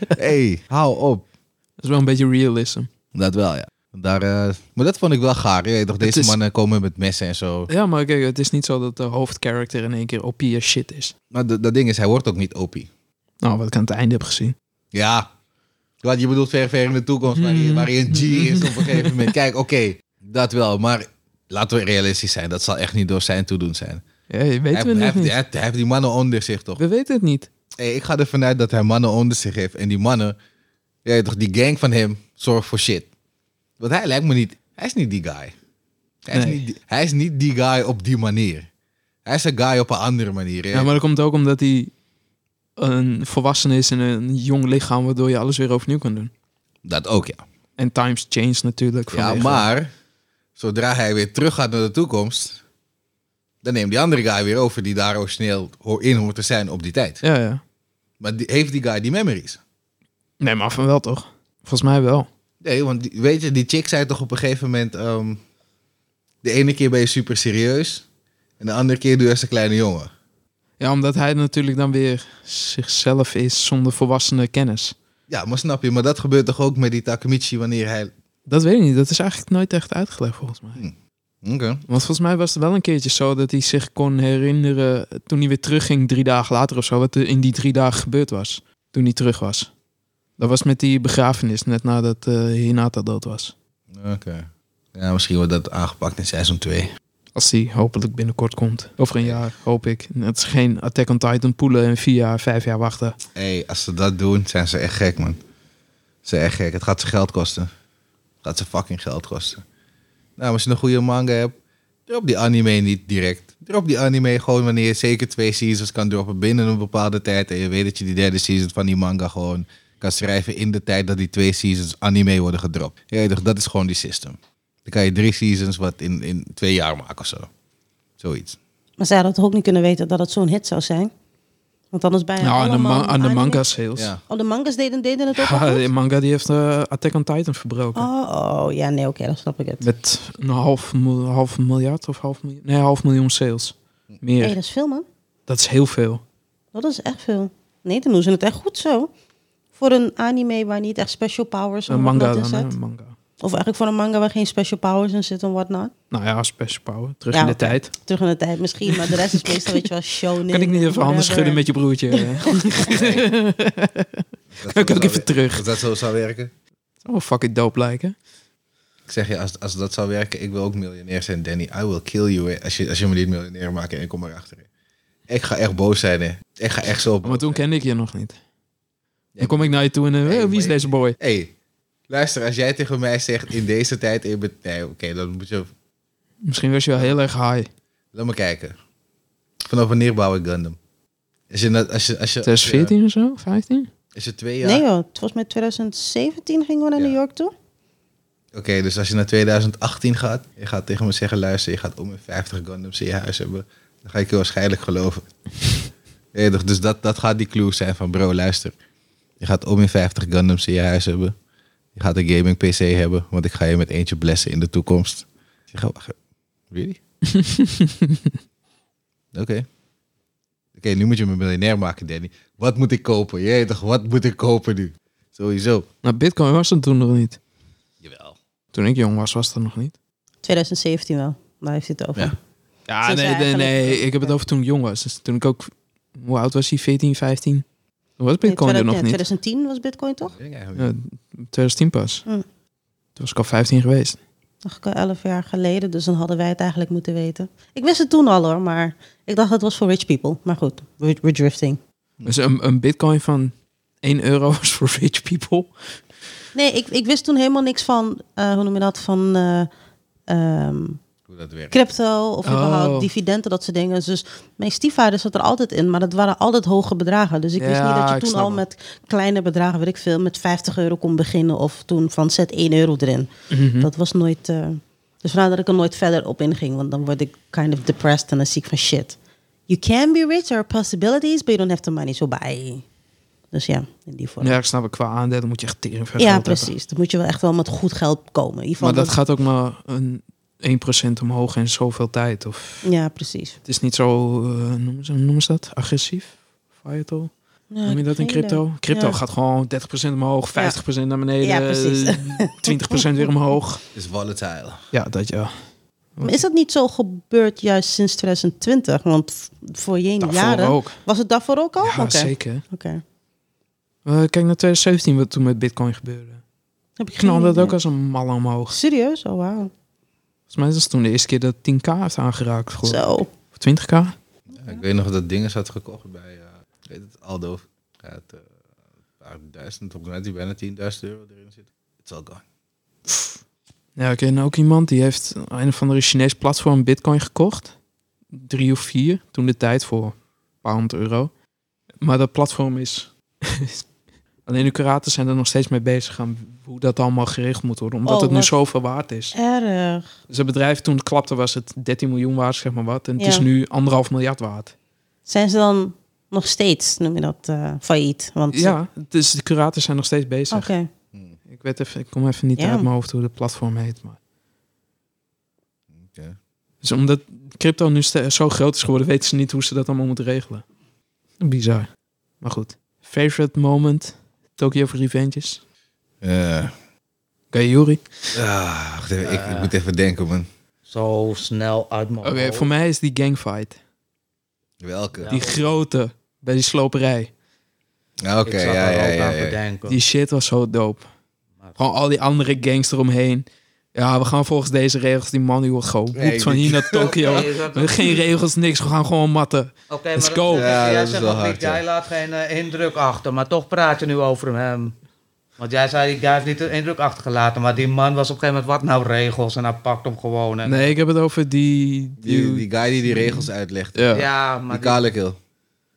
[SPEAKER 3] hey, hou op.
[SPEAKER 2] Dat is wel een beetje realism.
[SPEAKER 3] Dat wel, ja. Daar, eh, maar dat vond ik wel gaar. Je weet toch, deze
[SPEAKER 2] is-
[SPEAKER 3] mannen komen met messen en zo.
[SPEAKER 2] Ja, maar kijk, het is niet zo dat de hoofdcharacter in één keer OP as shit is.
[SPEAKER 3] Maar dat dat ding is, hij wordt ook niet OP.
[SPEAKER 2] Nou, wat ik aan het einde heb gezien.
[SPEAKER 3] Ja. Wat je bedoelt ver, ver in de toekomst, waar je, waar je een G is op een gegeven moment. Kijk, oké, dat wel. Maar laten we realistisch zijn. Dat zal echt niet door zijn toedoen zijn.
[SPEAKER 2] Ja, je weet
[SPEAKER 3] Hij,
[SPEAKER 2] het nog
[SPEAKER 3] hij, heeft,
[SPEAKER 2] niet.
[SPEAKER 3] hij heeft- hij heeft die mannen onder zich, toch?
[SPEAKER 2] We weten het niet.
[SPEAKER 3] Hey, ik ga ervan uit dat hij mannen onder zich heeft. En die mannen, je weet toch, die gang van hem, zorgt voor shit. Want hij lijkt me niet... Hij is niet die guy. Hij,
[SPEAKER 2] Nee.
[SPEAKER 3] is, niet, die- hij is niet die guy op die manier. Hij is een guy op een andere manier.
[SPEAKER 2] Ja, maar dat komt ook omdat hij een volwassene is in een jong lichaam, waardoor je alles weer overnieuw kan doen.
[SPEAKER 3] Dat ook, ja.
[SPEAKER 2] En times change natuurlijk.
[SPEAKER 3] Ja,
[SPEAKER 2] vanwege-
[SPEAKER 3] maar zodra hij weer terug gaat naar de toekomst, dan neemt die andere guy weer over die daar origineel ho- in hoort te zijn op die tijd.
[SPEAKER 2] Ja, ja.
[SPEAKER 3] Maar die, heeft die guy die memories?
[SPEAKER 2] Nee, maar van wel toch? Volgens mij wel.
[SPEAKER 3] Nee, want die- weet je, die chick zei toch op een gegeven moment, ehm, de ene keer ben je super serieus en de andere keer doe je als een kleine jongen.
[SPEAKER 2] Ja, omdat hij natuurlijk dan weer zichzelf is zonder volwassene kennis.
[SPEAKER 3] Ja, maar snap je, maar dat gebeurt toch ook met die Takemichi wanneer hij...
[SPEAKER 2] Dat weet ik niet. Dat is eigenlijk nooit echt uitgelegd volgens mij.
[SPEAKER 3] Oké.
[SPEAKER 2] Want volgens mij was het wel een keertje zo dat hij zich kon herinneren toen hij weer terugging drie dagen later of zo, wat er in die drie dagen gebeurd was toen hij terug was. Dat was met die begrafenis, net nadat eh, Hinata dood was.
[SPEAKER 3] Oké. Ja, misschien wordt dat aangepakt in seizoen 2.
[SPEAKER 2] Als die hopelijk binnenkort komt. Over een jaar, hoop ik. Het is geen Attack on Titan poelen en vier jaar, vijf jaar wachten.
[SPEAKER 3] Hé, als ze dat doen, zijn ze echt gek, man. Ze zijn echt gek. Het gaat ze geld kosten. Het gaat ze fucking geld kosten. Nou, als je een goede manga hebt, drop die anime niet direct. Drop die anime gewoon wanneer je zeker twee seasons kan droppen binnen een bepaalde tijd. En je weet dat je die derde season van die manga gewoon kan schrijven in de tijd dat die twee seasons anime worden gedropt. Ja, je dacht, dat is gewoon die system. Dan kan je drie seasons wat in, in twee jaar maken of zo. Zoiets.
[SPEAKER 1] Maar zij hadden toch ook niet kunnen weten dat het zo'n hit zou zijn? Want anders bijna
[SPEAKER 2] nou, aan de,
[SPEAKER 1] allemaal
[SPEAKER 2] ma- aan de
[SPEAKER 1] anime-
[SPEAKER 2] manga sales.
[SPEAKER 3] Ja.
[SPEAKER 1] Oh, de mangas deden, deden het ook al
[SPEAKER 2] Ja,
[SPEAKER 1] goed?
[SPEAKER 2] de manga die heeft eh, Attack on Titan verbroken.
[SPEAKER 1] Oh, oh, ja, nee, oké, dan snap ik het.
[SPEAKER 2] Met een half, mil- half miljard of half miljoen. Nee, half miljoen sales. Meer.
[SPEAKER 1] hey, dat is veel, man.
[SPEAKER 2] Dat is heel veel.
[SPEAKER 1] Dat is echt veel. Nee, dan doen ze het echt goed zo. Voor een anime waar niet echt special powers
[SPEAKER 2] Een
[SPEAKER 1] en
[SPEAKER 2] manga
[SPEAKER 1] whatnot in
[SPEAKER 2] dan, hè,
[SPEAKER 1] zit.
[SPEAKER 2] een manga.
[SPEAKER 1] Of eigenlijk voor een manga waar geen special powers in zitten en whatnot.
[SPEAKER 2] Nou ja, special power. Terug
[SPEAKER 1] Ja,
[SPEAKER 2] in de
[SPEAKER 1] oké.
[SPEAKER 2] tijd.
[SPEAKER 1] Terug in de tijd misschien, maar de rest is meestal, weet je wel, shonen.
[SPEAKER 2] Kan ik niet even handen
[SPEAKER 1] whatever.
[SPEAKER 2] schudden met je broertje? hè?
[SPEAKER 3] Dat
[SPEAKER 2] Kan ik ook
[SPEAKER 3] zou-
[SPEAKER 2] even terug.
[SPEAKER 3] Als dat zo zou werken.
[SPEAKER 2] Oh, fuck it, dope lijken.
[SPEAKER 3] Ik zeg je, als, als dat zou werken, ik wil ook miljonair zijn, Danny. I will kill you. hè. Als je, als je me niet miljonair maakt en ik kom erachter. hè. Ik ga echt boos zijn, hè. Ik ga echt zo boos
[SPEAKER 2] Oh, Maar toen
[SPEAKER 3] zijn.
[SPEAKER 2] kende ik je nog niet. Dan kom ik naar je toe en eh,
[SPEAKER 3] Nee,
[SPEAKER 2] hey, wie is
[SPEAKER 3] maar-
[SPEAKER 2] deze boy?
[SPEAKER 3] hey, luister, als jij tegen mij zegt in deze tijd... in bet- Nee, oké, dan moet je...
[SPEAKER 2] Misschien was je wel heel erg high.
[SPEAKER 3] Laat me kijken. Vanaf wanneer bouw ik Gundam? Als je, na- als je, als je, als je,
[SPEAKER 2] 2014 of zo? 15?
[SPEAKER 3] als je twee jaar...
[SPEAKER 1] Nee joh, het was met 2017 gingen we naar
[SPEAKER 3] Ja.
[SPEAKER 1] New York toe.
[SPEAKER 3] Oké, dus als je naar 2018 gaat... Je gaat tegen me zeggen, luister, je gaat om in 50 Gundams in je huis hebben. Dan ga ik je waarschijnlijk geloven. Ja, toch, dus dat, dat gaat die clue zijn van bro, luister. Je gaat om in 50 Gundams in je huis hebben. Je gaat een gaming PC hebben, want ik ga je met eentje blessen in de toekomst. Ik zeg, oh, wacht, really? Oké. Oké, nu moet je me miljonair maken, Danny. Wat moet ik kopen? Jij toch, wat moet ik kopen nu? Sowieso.
[SPEAKER 2] Nou, Bitcoin was er toen nog niet.
[SPEAKER 3] Jawel.
[SPEAKER 2] Toen ik jong was, was dat nog niet.
[SPEAKER 1] 2017 wel, daar heeft hij het over.
[SPEAKER 3] Ja.
[SPEAKER 2] Ja,
[SPEAKER 1] Ze is
[SPEAKER 2] nee, nee,
[SPEAKER 1] eigenlijk-
[SPEAKER 2] nee. Ik heb het over toen ik jong was. Dus toen ik ook... Hoe oud was hij? 14, 15? Toen was Bitcoin
[SPEAKER 1] Nee,
[SPEAKER 2] er nog niet.
[SPEAKER 1] 2010 was Bitcoin toch?
[SPEAKER 3] Ik denk eigenlijk
[SPEAKER 2] Ja, 2010 pas.
[SPEAKER 1] Hm.
[SPEAKER 2] Toen was ik al 15 geweest.
[SPEAKER 1] Nog wel 11 jaar geleden, dus dan hadden wij het eigenlijk moeten weten. Ik wist het toen al hoor, maar ik dacht dat het was voor rich people. Maar goed, we're, we're drifting.
[SPEAKER 2] Dus een, een bitcoin van 1 euro was voor rich people.
[SPEAKER 1] Nee, ik, ik wist toen helemaal niks van, eh, hoe noem je dat, van eh, ehm,
[SPEAKER 3] hoe dat werkt.
[SPEAKER 1] crypto of
[SPEAKER 2] Oh.
[SPEAKER 1] überhaupt dividenden, dat soort dingen. Dus mijn stiefvader zat er altijd in, maar dat waren altijd hoge bedragen. Dus ik wist
[SPEAKER 2] Ja,
[SPEAKER 1] niet dat
[SPEAKER 2] ik
[SPEAKER 1] je toen
[SPEAKER 2] snap
[SPEAKER 1] al
[SPEAKER 2] het.
[SPEAKER 1] met kleine bedragen, weet ik veel, met 50 euro kon beginnen. Of toen van zet 1 euro erin.
[SPEAKER 2] Mhm.
[SPEAKER 1] Dat was nooit... eh, dus vandaar dat ik er nooit verder op inging, want dan word ik kind of depressed en dan zie ik van shit. you can be rich, there are possibilities, but you don't have the money, so bye. Dus ja, in die vorm.
[SPEAKER 2] Ja, ik snap het. Qua aandelen moet je echt tering veel
[SPEAKER 1] Ja,
[SPEAKER 2] geld hebben.
[SPEAKER 1] precies. Dan moet je wel echt wel met goed geld komen. In ieder geval
[SPEAKER 2] Maar dat
[SPEAKER 1] dat-
[SPEAKER 2] gaat ook maar een 1% omhoog in zoveel tijd. Of
[SPEAKER 1] Ja, precies.
[SPEAKER 2] het is niet zo, eh, noemen, ze, noemen ze dat? Agressief? Vital?
[SPEAKER 1] Ja,
[SPEAKER 2] Noem je dat
[SPEAKER 1] geen idee.
[SPEAKER 2] in crypto? Crypto
[SPEAKER 1] Eh, Ja.
[SPEAKER 2] gaat gewoon 30% omhoog, 50% naar beneden,
[SPEAKER 1] Ja, precies.
[SPEAKER 2] 20% weer omhoog.
[SPEAKER 3] is volatile.
[SPEAKER 2] Ja, dat ja.
[SPEAKER 1] Maar is dat niet zo gebeurd juist sinds 2020? Want v- voor je
[SPEAKER 2] Daarvoor
[SPEAKER 1] jaren...
[SPEAKER 2] ook.
[SPEAKER 1] Was het daarvoor ook al?
[SPEAKER 2] Ja,
[SPEAKER 1] Oké.
[SPEAKER 2] zeker.
[SPEAKER 1] Oké.
[SPEAKER 2] Eh, kijk naar 2017, wat toen met bitcoin gebeurde.
[SPEAKER 1] Heb
[SPEAKER 2] Ik knalde dat
[SPEAKER 1] idee.
[SPEAKER 2] ook als een mal omhoog.
[SPEAKER 1] Serieus? Oh, wauw.
[SPEAKER 2] Volgens mij is dat toen de eerste keer dat 10k heeft aangeraakt. geloof ik.
[SPEAKER 1] Zo.
[SPEAKER 2] Of 20k?
[SPEAKER 3] Ja, ik weet nog dat dingen had gekocht bij, eh ik weet het, Aldo. Ja, het, eh, een paar duizend, op net die bijna 10.000 euro erin zit. It's all gone.
[SPEAKER 2] Ja, ik ken ook iemand die heeft een of andere Chinees platform bitcoin gekocht. Drie of vier, toen de tijd voor een paar honderd euro. Maar dat platform is... Alleen de curators zijn er nog steeds mee bezig aan hoe dat allemaal geregeld moet worden. Omdat
[SPEAKER 1] Oh,
[SPEAKER 2] het nu
[SPEAKER 1] wat-
[SPEAKER 2] zoveel waard is.
[SPEAKER 1] Erg.
[SPEAKER 2] Dus het bedrijf toen het klapte was het 13 miljoen waard, zeg maar wat. En het
[SPEAKER 1] Ja.
[SPEAKER 2] is nu anderhalf miljard waard.
[SPEAKER 1] Zijn ze dan nog steeds, noem je dat, eh, failliet? Want,
[SPEAKER 2] Ja, dus de curators zijn nog steeds bezig.
[SPEAKER 1] Oké.
[SPEAKER 3] Hmm,
[SPEAKER 2] Ik, weet even, ik kom even niet
[SPEAKER 1] Ja.
[SPEAKER 2] uit mijn hoofd hoe de platform heet. Maar.
[SPEAKER 3] oké.
[SPEAKER 2] Dus omdat crypto nu ste- zo groot is geworden, weten ze niet hoe ze dat allemaal moeten regelen. Bizar. Maar goed. Favorite moment? Tokyo for Revenges?
[SPEAKER 3] Eh,
[SPEAKER 2] Oké, Yuri.
[SPEAKER 3] ah, wacht even, ik, ik moet even denken, man.
[SPEAKER 4] Zo snel uit mijn
[SPEAKER 2] Oké,
[SPEAKER 3] Oh.
[SPEAKER 4] hoofd.
[SPEAKER 2] voor mij is die gangfight.
[SPEAKER 3] Welke?
[SPEAKER 4] Ja.
[SPEAKER 2] Die grote bij die sloperij.
[SPEAKER 3] Ah, Oké,
[SPEAKER 4] ik zat
[SPEAKER 3] ja,
[SPEAKER 4] er
[SPEAKER 3] ja,
[SPEAKER 4] ook
[SPEAKER 3] ja.
[SPEAKER 4] aan
[SPEAKER 3] ja.
[SPEAKER 4] te denken.
[SPEAKER 2] Die shit was zo dope.
[SPEAKER 4] Maar-
[SPEAKER 2] Gewoon al die andere gangs eromheen. Ja, we gaan volgens deze regels. Die man die wordt gewoon
[SPEAKER 3] Nee,
[SPEAKER 2] boekt van
[SPEAKER 3] die-
[SPEAKER 2] hier naar Tokyo.
[SPEAKER 4] Oké, is dat-
[SPEAKER 2] Geen regels, niks. We gaan gewoon matten.
[SPEAKER 4] Oké,
[SPEAKER 2] Let's
[SPEAKER 4] maar
[SPEAKER 2] go.
[SPEAKER 4] dat-
[SPEAKER 3] Ja, dat
[SPEAKER 4] jij
[SPEAKER 3] is
[SPEAKER 4] zegt
[SPEAKER 3] wel
[SPEAKER 4] nog
[SPEAKER 3] hard,
[SPEAKER 4] niet,
[SPEAKER 3] ja.
[SPEAKER 4] jij laat geen eh, indruk achter, maar toch praat je nu over hem. Want jij zei, die guy heeft niet de indruk achtergelaten, maar die man was op een gegeven moment, wat nou regels? En hij pakt hem gewoon. En,
[SPEAKER 2] Nee, ik heb het over die...
[SPEAKER 3] Die, die guy die die regels uitlegt.
[SPEAKER 2] ja. Ja.
[SPEAKER 4] Ja,
[SPEAKER 3] Die
[SPEAKER 4] maar die,
[SPEAKER 3] kale kill.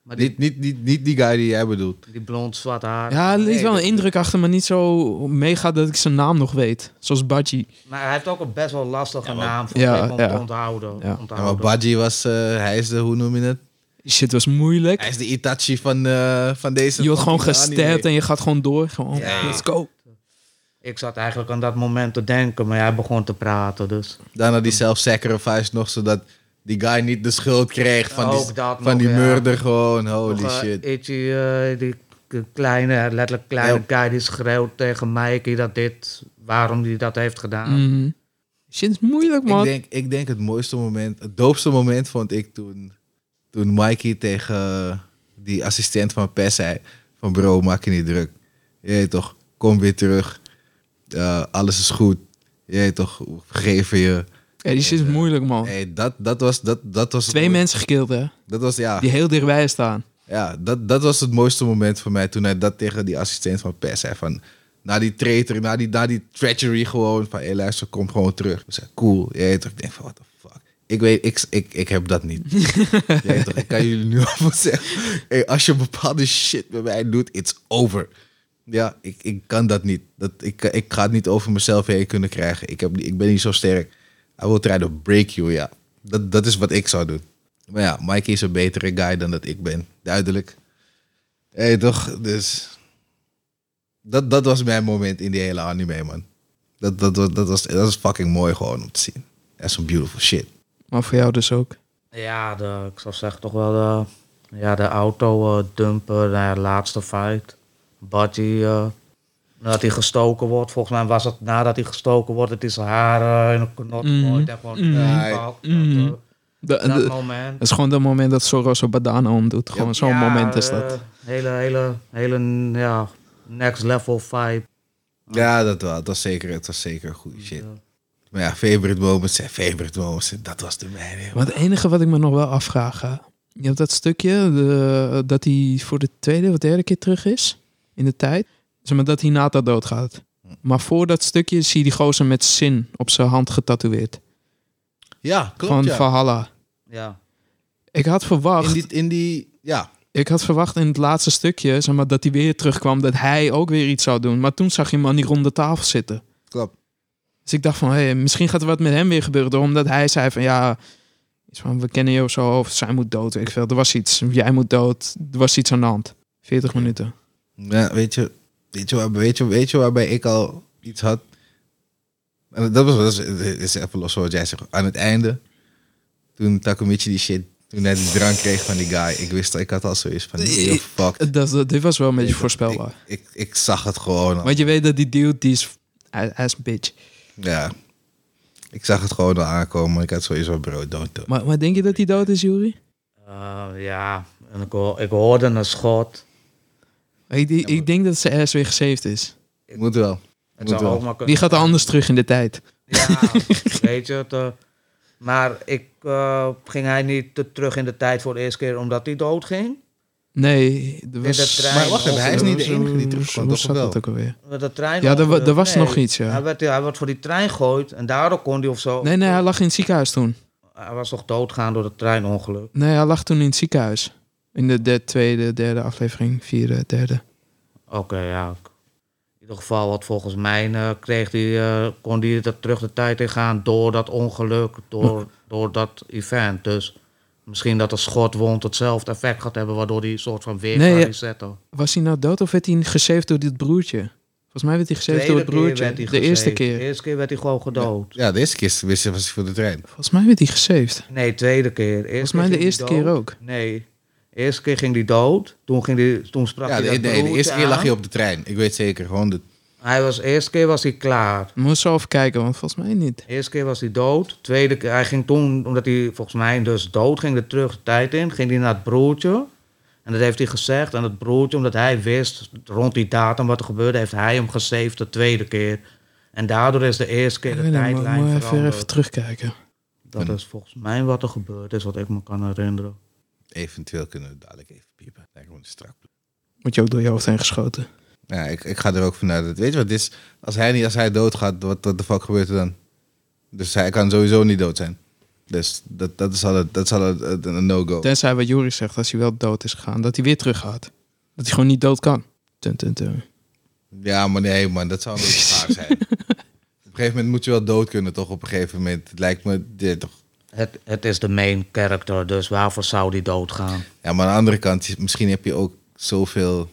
[SPEAKER 4] maar die,
[SPEAKER 3] Niet, niet, niet, niet die guy die jij bedoelt.
[SPEAKER 4] die blond zwart haar.
[SPEAKER 2] er
[SPEAKER 4] Nee,
[SPEAKER 2] is wel een
[SPEAKER 4] dat-
[SPEAKER 2] indruk achter, maar niet zo mega dat ik zijn naam nog weet. Zoals Badji.
[SPEAKER 4] Maar hij heeft ook een best wel lastige naam voor
[SPEAKER 2] Ja,
[SPEAKER 4] hem om
[SPEAKER 2] ja.
[SPEAKER 4] te onthouden.
[SPEAKER 2] Ja.
[SPEAKER 4] om te
[SPEAKER 3] Ja, maar
[SPEAKER 4] houden.
[SPEAKER 3] Badji was, eh, hij is de, hoe noem je het?
[SPEAKER 2] Die shit was moeilijk.
[SPEAKER 3] Hij is de Itachi van, eh, van deze.
[SPEAKER 2] Je wordt gewoon
[SPEAKER 3] fucking
[SPEAKER 2] gestapt en
[SPEAKER 3] anime.
[SPEAKER 2] je gaat gewoon door. Gewoon,
[SPEAKER 4] Ja.
[SPEAKER 2] let's go.
[SPEAKER 4] Ik zat eigenlijk aan dat moment te denken, maar jij begon te praten, dus...
[SPEAKER 3] Daarna die self-sacrifice nog, zodat die guy niet de schuld kreeg van die,
[SPEAKER 4] Ook dat
[SPEAKER 3] van
[SPEAKER 4] nog,
[SPEAKER 3] die
[SPEAKER 4] ja.
[SPEAKER 3] murder gewoon. Holy
[SPEAKER 4] Nog, eh,
[SPEAKER 3] shit.
[SPEAKER 4] Itchy, eh, die k- kleine, letterlijk kleine guy die schreeuwt tegen Mikey dat dit, waarom hij dat heeft gedaan.
[SPEAKER 2] Mhm. Shit is moeilijk,
[SPEAKER 3] Ik
[SPEAKER 2] man.
[SPEAKER 3] denk, ik denk het mooiste moment, het doopste moment vond ik toen, toen Mikey tegen die assistent van PES zei: van bro, maak je niet druk. Je weet toch, kom weer terug. Eh, alles is goed. Je weet toch, we vergeven je.
[SPEAKER 2] Ja, die shit is moeilijk, man.
[SPEAKER 3] Hey, dat, dat was, dat, dat was het
[SPEAKER 2] Oh. Twee
[SPEAKER 3] moe-
[SPEAKER 2] mensen gekild, hè.
[SPEAKER 3] Dat was, ja,
[SPEAKER 2] Die heel dichtbij staan.
[SPEAKER 3] ja dat, dat was het mooiste moment voor mij toen hij dat tegen die assistent van PES zei. Van, na die traitor, na die, na die treachery gewoon. Van, hé luister, kom gewoon terug. Ik zei, cool. Je weet toch, ik denk van, what the fuck. Ik weet, ik, ik, ik heb dat niet. Je weet toch, ik kan jullie nu al zeggen. Hey, als je bepaalde shit met mij doet, it's over. Ja, ik, ik kan dat niet. Dat, ik, ik ga het niet over mezelf heen kunnen krijgen. Ik, heb, niet- ik ben niet zo sterk. I will try to break you, ja. Dat, dat is wat ik zou doen. Maar ja, Mikey is een betere guy dan dat ik ben. Duidelijk. Hé, hey, toch? Dus... Dat, dat was mijn moment in die hele anime, man. Dat, dat, was- dat, was, dat was fucking mooi gewoon om te zien. That's some beautiful shit.
[SPEAKER 2] Maar voor jou dus ook.
[SPEAKER 4] Ja, de, ik zou zeggen toch wel de, ja, de auto eh, dumpen, de laatste fight. Budgie, eh, nadat hij gestoken wordt. Volgens mij was het nadat hij gestoken wordt, dat hij zijn haar eh, in een knot
[SPEAKER 2] Mm.
[SPEAKER 4] gooit en gewoon
[SPEAKER 2] Mm.
[SPEAKER 4] erin pakt. Dat, eh,
[SPEAKER 2] Mm. De-
[SPEAKER 4] Dat
[SPEAKER 2] de-
[SPEAKER 4] moment.
[SPEAKER 2] dat is gewoon dat moment dat Zoro zijn badana omdoet. Gewoon zo'n
[SPEAKER 4] Ja,
[SPEAKER 2] moment is
[SPEAKER 4] eh,
[SPEAKER 2] dat.
[SPEAKER 4] hele, hele, hele, ja, next level vibe.
[SPEAKER 3] Ja, dat, wa- dat was zeker, het was zeker goede shit.
[SPEAKER 4] Ja.
[SPEAKER 3] Maar ja, favorite moments zijn favorite moments. En dat was de mijne.
[SPEAKER 2] Maar het enige wat ik me nog wel afvraag, hè, je hebt dat stukje de- dat hij voor de tweede of derde keer terug is in de tijd. Zeg maar dat hij Nata doodgaat. Maar voor dat stukje zie je die gozer met zin op zijn hand getatoeëerd.
[SPEAKER 3] Ja, klopt
[SPEAKER 2] van
[SPEAKER 3] ja.
[SPEAKER 2] Valhalla.
[SPEAKER 4] Ja.
[SPEAKER 2] Ik had
[SPEAKER 3] In
[SPEAKER 2] verwacht,
[SPEAKER 3] die, in die, ja.
[SPEAKER 2] ik had verwacht in het laatste stukje zeg maar, dat hij weer terugkwam, dat hij ook weer iets zou doen. Maar toen zag je hem aan die ronde tafel zitten.
[SPEAKER 3] Klopt.
[SPEAKER 2] Dus ik dacht van, hé, misschien gaat er wat met hem weer gebeuren. Door omdat hij zei van, ja, Iets van, we kennen jou zo, of zij moet dood, weet ik veel. Er was iets, jij moet dood, er was iets aan de hand. 40 minuten.
[SPEAKER 3] Ja, weet je, weet je, waar, weet je, weet je waarbij ik al iets had? En Dat was, dat is, is even los van wat jij zegt. Aan het einde, toen Takumichi die shit, toen hij die drank kreeg van die guy, ik wist, ik had al zoiets van, yo, fuck.
[SPEAKER 2] Eh, Dat, dat- dit was wel een beetje voorspelbaar.
[SPEAKER 3] Ik, ik, ik zag het gewoon al.
[SPEAKER 2] Want je weet dat die dude, die is, hij, hij is een bitch.
[SPEAKER 3] Ja. Ik zag het gewoon al aankomen. Ik had sowieso, bro, don't do it.
[SPEAKER 2] Maar, maar denk je dat hij dood is, Jury?
[SPEAKER 4] Eh, ja, en ik, ho- ik hoorde een schot.
[SPEAKER 2] Ik, ik, ik denk dat ze ergens weer gesaved is.
[SPEAKER 3] Moet wel.
[SPEAKER 4] Het
[SPEAKER 3] Moet
[SPEAKER 4] zou
[SPEAKER 3] wel.
[SPEAKER 4] ook maar kunnen.
[SPEAKER 2] Die gaat anders terug in de tijd.
[SPEAKER 4] Ja, weet je het. eh, maar ik, eh, ging hij niet te- terug in de tijd voor de eerste keer omdat hij dood ging?
[SPEAKER 2] Nee, er
[SPEAKER 4] de
[SPEAKER 2] was...
[SPEAKER 4] trein.
[SPEAKER 3] Maar wacht even, hij is niet de enige die terugkwam,
[SPEAKER 2] Hoe
[SPEAKER 3] toch
[SPEAKER 2] zat
[SPEAKER 3] wel?
[SPEAKER 2] dat ook alweer?
[SPEAKER 4] Met de trein
[SPEAKER 2] Ja, er wa-
[SPEAKER 4] ongeluk.
[SPEAKER 2] er was nog iets, ja.
[SPEAKER 4] Hij werd, hij werd voor die trein gegooid en daardoor kon hij of zo.
[SPEAKER 2] Nee, nee, hij lag in het ziekenhuis toen.
[SPEAKER 4] Hij was toch doodgaan door dat treinongeluk.
[SPEAKER 2] Nee, hij lag toen in het ziekenhuis. In de, de tweede, derde aflevering, vierde, derde.
[SPEAKER 4] Oké, ja. In ieder geval, wat volgens mij eh, kreeg die, eh, kon hij dat terug de tijd ingaan door dat ongeluk,
[SPEAKER 2] Hm.
[SPEAKER 4] door, door dat event. Dus misschien dat een schotwond hetzelfde effect gaat hebben, waardoor die soort van weer
[SPEAKER 2] Nee,
[SPEAKER 4] kan
[SPEAKER 2] ja.
[SPEAKER 4] resetten.
[SPEAKER 2] Was hij nou dood of werd hij gesaved door dit broertje? Volgens mij werd hij gesaved door het
[SPEAKER 4] Tweede keer
[SPEAKER 2] broertje.
[SPEAKER 4] werd hij
[SPEAKER 2] de eerste
[SPEAKER 4] gesaved.
[SPEAKER 2] keer.
[SPEAKER 4] De eerste keer werd hij gewoon gedood.
[SPEAKER 3] Ja, de eerste keer wist je, was ik voor de trein.
[SPEAKER 2] Volgens mij werd hij gesaved.
[SPEAKER 4] Nee, tweede keer. Eerste
[SPEAKER 2] Volgens mij
[SPEAKER 4] keer
[SPEAKER 2] de
[SPEAKER 4] ging
[SPEAKER 2] eerste
[SPEAKER 4] hij
[SPEAKER 2] keer
[SPEAKER 4] dood.
[SPEAKER 2] ook.
[SPEAKER 4] Nee. De eerste keer ging hij dood. Toen, ging die, toen sprak
[SPEAKER 3] Ja,
[SPEAKER 4] hij
[SPEAKER 3] de,
[SPEAKER 4] dat
[SPEAKER 3] nee, de
[SPEAKER 4] broertje
[SPEAKER 3] eerste keer lag
[SPEAKER 4] aan.
[SPEAKER 3] je op de trein. Ik weet zeker, gewoon de...
[SPEAKER 4] Hij was, eerste keer was hij klaar.
[SPEAKER 2] Moet zo even kijken, want volgens mij niet.
[SPEAKER 4] Eerste keer was hij dood. Tweede keer, hij ging toen, omdat hij volgens mij dus dood ging, de terug de tijd in. Ging hij naar het broertje. En dat heeft hij gezegd. En het broertje, omdat hij wist rond die datum wat er gebeurde, heeft hij hem gesaved de tweede keer. En daardoor is de eerste keer
[SPEAKER 2] Ik
[SPEAKER 4] de
[SPEAKER 2] weet niet, maar
[SPEAKER 4] tijdlijn
[SPEAKER 2] moet even,
[SPEAKER 4] veranderd.
[SPEAKER 2] even terugkijken.
[SPEAKER 4] Dat is volgens mij wat er gebeurd is, wat ik me kan herinneren.
[SPEAKER 3] Eventueel kunnen we dadelijk even piepen. Lijkt me een strak plan.
[SPEAKER 2] Moet je ook door je hoofd heen geschoten.
[SPEAKER 3] Ja, ik, ik ga er ook vanuit. dat- Weet je wat het is? Als hij, niet, als hij doodgaat, wat, wat de fuck gebeurt er dan? Dus hij kan sowieso niet dood zijn. Dus dat, dat is al, het- dat is al het- het- een no-go.
[SPEAKER 2] Tenzij wat Joris zegt, als hij wel dood is gegaan, dat hij weer terug gaat. Dat hij gewoon niet dood kan. Tun, tun, tun.
[SPEAKER 3] Ja, maar nee, man, dat zou een beetje zwaar zijn. op een gegeven moment moet je wel dood kunnen, toch? Op een gegeven moment. Het lijkt me... ja, toch.
[SPEAKER 4] Het, het is de main character, dus waarvoor zou die doodgaan?
[SPEAKER 3] Ja, maar aan de andere kant, je- misschien heb je ook zoveel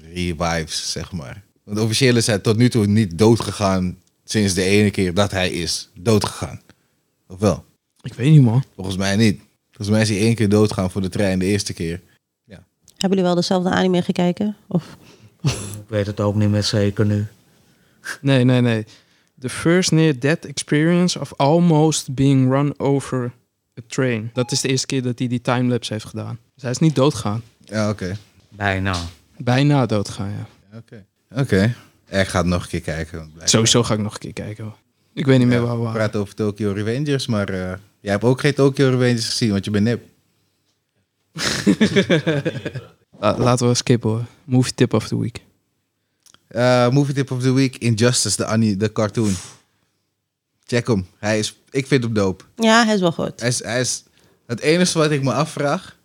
[SPEAKER 3] revives, zeg maar. Want officieel is hij tot nu toe niet doodgegaan sinds de ene keer dat hij is doodgegaan. Of wel?
[SPEAKER 2] Ik weet niet, man.
[SPEAKER 3] Volgens mij niet. Volgens mij is hij één keer doodgaan voor de trein de eerste keer.
[SPEAKER 1] Hebben jullie wel dezelfde anime gekeken? Of
[SPEAKER 4] Ik weet het ook niet meer zeker nu.
[SPEAKER 2] Nee, nee, nee. The first near-death experience of almost being run over a train. Dat is de eerste keer dat hij die timelapse heeft gedaan. Dus hij is niet doodgaan.
[SPEAKER 3] Ja, oké.
[SPEAKER 4] Bijna.
[SPEAKER 2] Bijna doodgaan, ja.
[SPEAKER 3] Ja, Oké. Oké. Ik ga het nog een keer kijken. want blijkbaar-
[SPEAKER 2] Sowieso ga ik nog een keer kijken. hoor. Ik weet niet meer
[SPEAKER 3] Ja,
[SPEAKER 2] waar we
[SPEAKER 3] we
[SPEAKER 2] waren.
[SPEAKER 3] praten over Tokyo Revengers, maar eh, jij hebt ook geen Tokyo Revengers gezien, want je bent nep.
[SPEAKER 2] La- laten we skippen hoor. Movie tip of the week.
[SPEAKER 3] Eh, movie tip of the week, Injustice, de, ani- de cartoon. Check hem. Hij is, ik vind hem dope.
[SPEAKER 1] ja, hij is wel goed.
[SPEAKER 3] Hij is, hij is, het enige wat ik me afvraag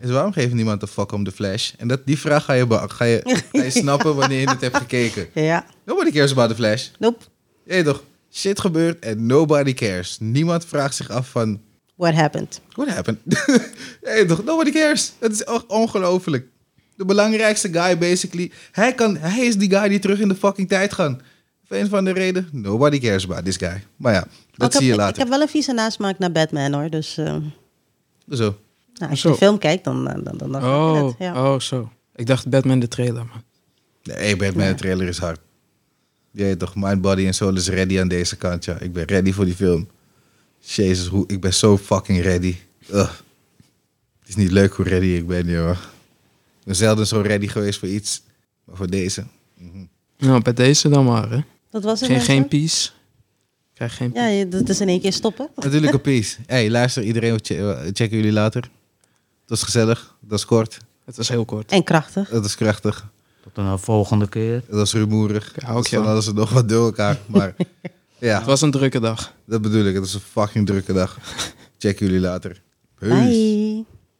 [SPEAKER 3] is waarom geeft niemand de fuck om de Flash? En dat, die vraag ga je, be- ga je, ga je snappen wanneer je het hebt gekeken.
[SPEAKER 2] Eh.
[SPEAKER 1] Ja,
[SPEAKER 3] Nobody cares about the Flash.
[SPEAKER 1] nope.
[SPEAKER 3] Je weet toch, shit gebeurt en nobody cares. Niemand vraagt zich af van,
[SPEAKER 1] What happened?
[SPEAKER 3] what happened? Je weet toch, nobody cares. Het is echt ongelooflijk. De belangrijkste guy basically. Hij, kan, hij is die guy die terug in de fucking tijd gaat. Voor een van de reden, nobody cares about this guy. Maar ja, dat
[SPEAKER 1] Oh, ik, heb,
[SPEAKER 3] zie je
[SPEAKER 1] ik- ik
[SPEAKER 3] later.
[SPEAKER 1] heb wel een vieze nasmaak naar Batman hoor. Dus eh, nou,
[SPEAKER 3] Zo.
[SPEAKER 1] als je
[SPEAKER 2] Zo.
[SPEAKER 1] de film kijkt, dan... eh, dan, dan, dan
[SPEAKER 2] Oh,
[SPEAKER 1] het, ja.
[SPEAKER 2] oh, zo. Ik dacht Batman de trailer, man.
[SPEAKER 3] Nee, Batman de trailer is hard. Jij toch, mind, body en soul is ready aan deze kant, ja. Ik ben ready voor die film. Jezus, hoe, ik ben zo fucking ready. Ugh. Het is niet leuk hoe ready ik ben, joh. Ik ben zelden zo ready geweest voor iets. Maar voor deze. Mhm.
[SPEAKER 2] Nou, bij deze dan maar, hè.
[SPEAKER 1] Dat was het
[SPEAKER 2] Geen,
[SPEAKER 1] mensen?
[SPEAKER 2] geen peace. Krijg geen
[SPEAKER 1] Ja, je- dat is in één keer stoppen.
[SPEAKER 2] Eh.
[SPEAKER 3] Natuurlijk een peace. hey, luister, iedereen, we che- we checken jullie later. Het was gezellig, dat is kort,
[SPEAKER 2] Het was heel kort.
[SPEAKER 1] En krachtig.
[SPEAKER 3] dat is krachtig,
[SPEAKER 4] Tot een volgende keer.
[SPEAKER 3] dat is rumoerig. Dus
[SPEAKER 2] Ja,
[SPEAKER 3] Dat
[SPEAKER 2] ook,
[SPEAKER 3] is van
[SPEAKER 2] ja.
[SPEAKER 3] alles en nog wat door elkaar. Maar ja,
[SPEAKER 2] Het was een drukke dag.
[SPEAKER 3] dat bedoel ik. Het is een fucking drukke dag. Check jullie later. Peace.
[SPEAKER 1] Bye.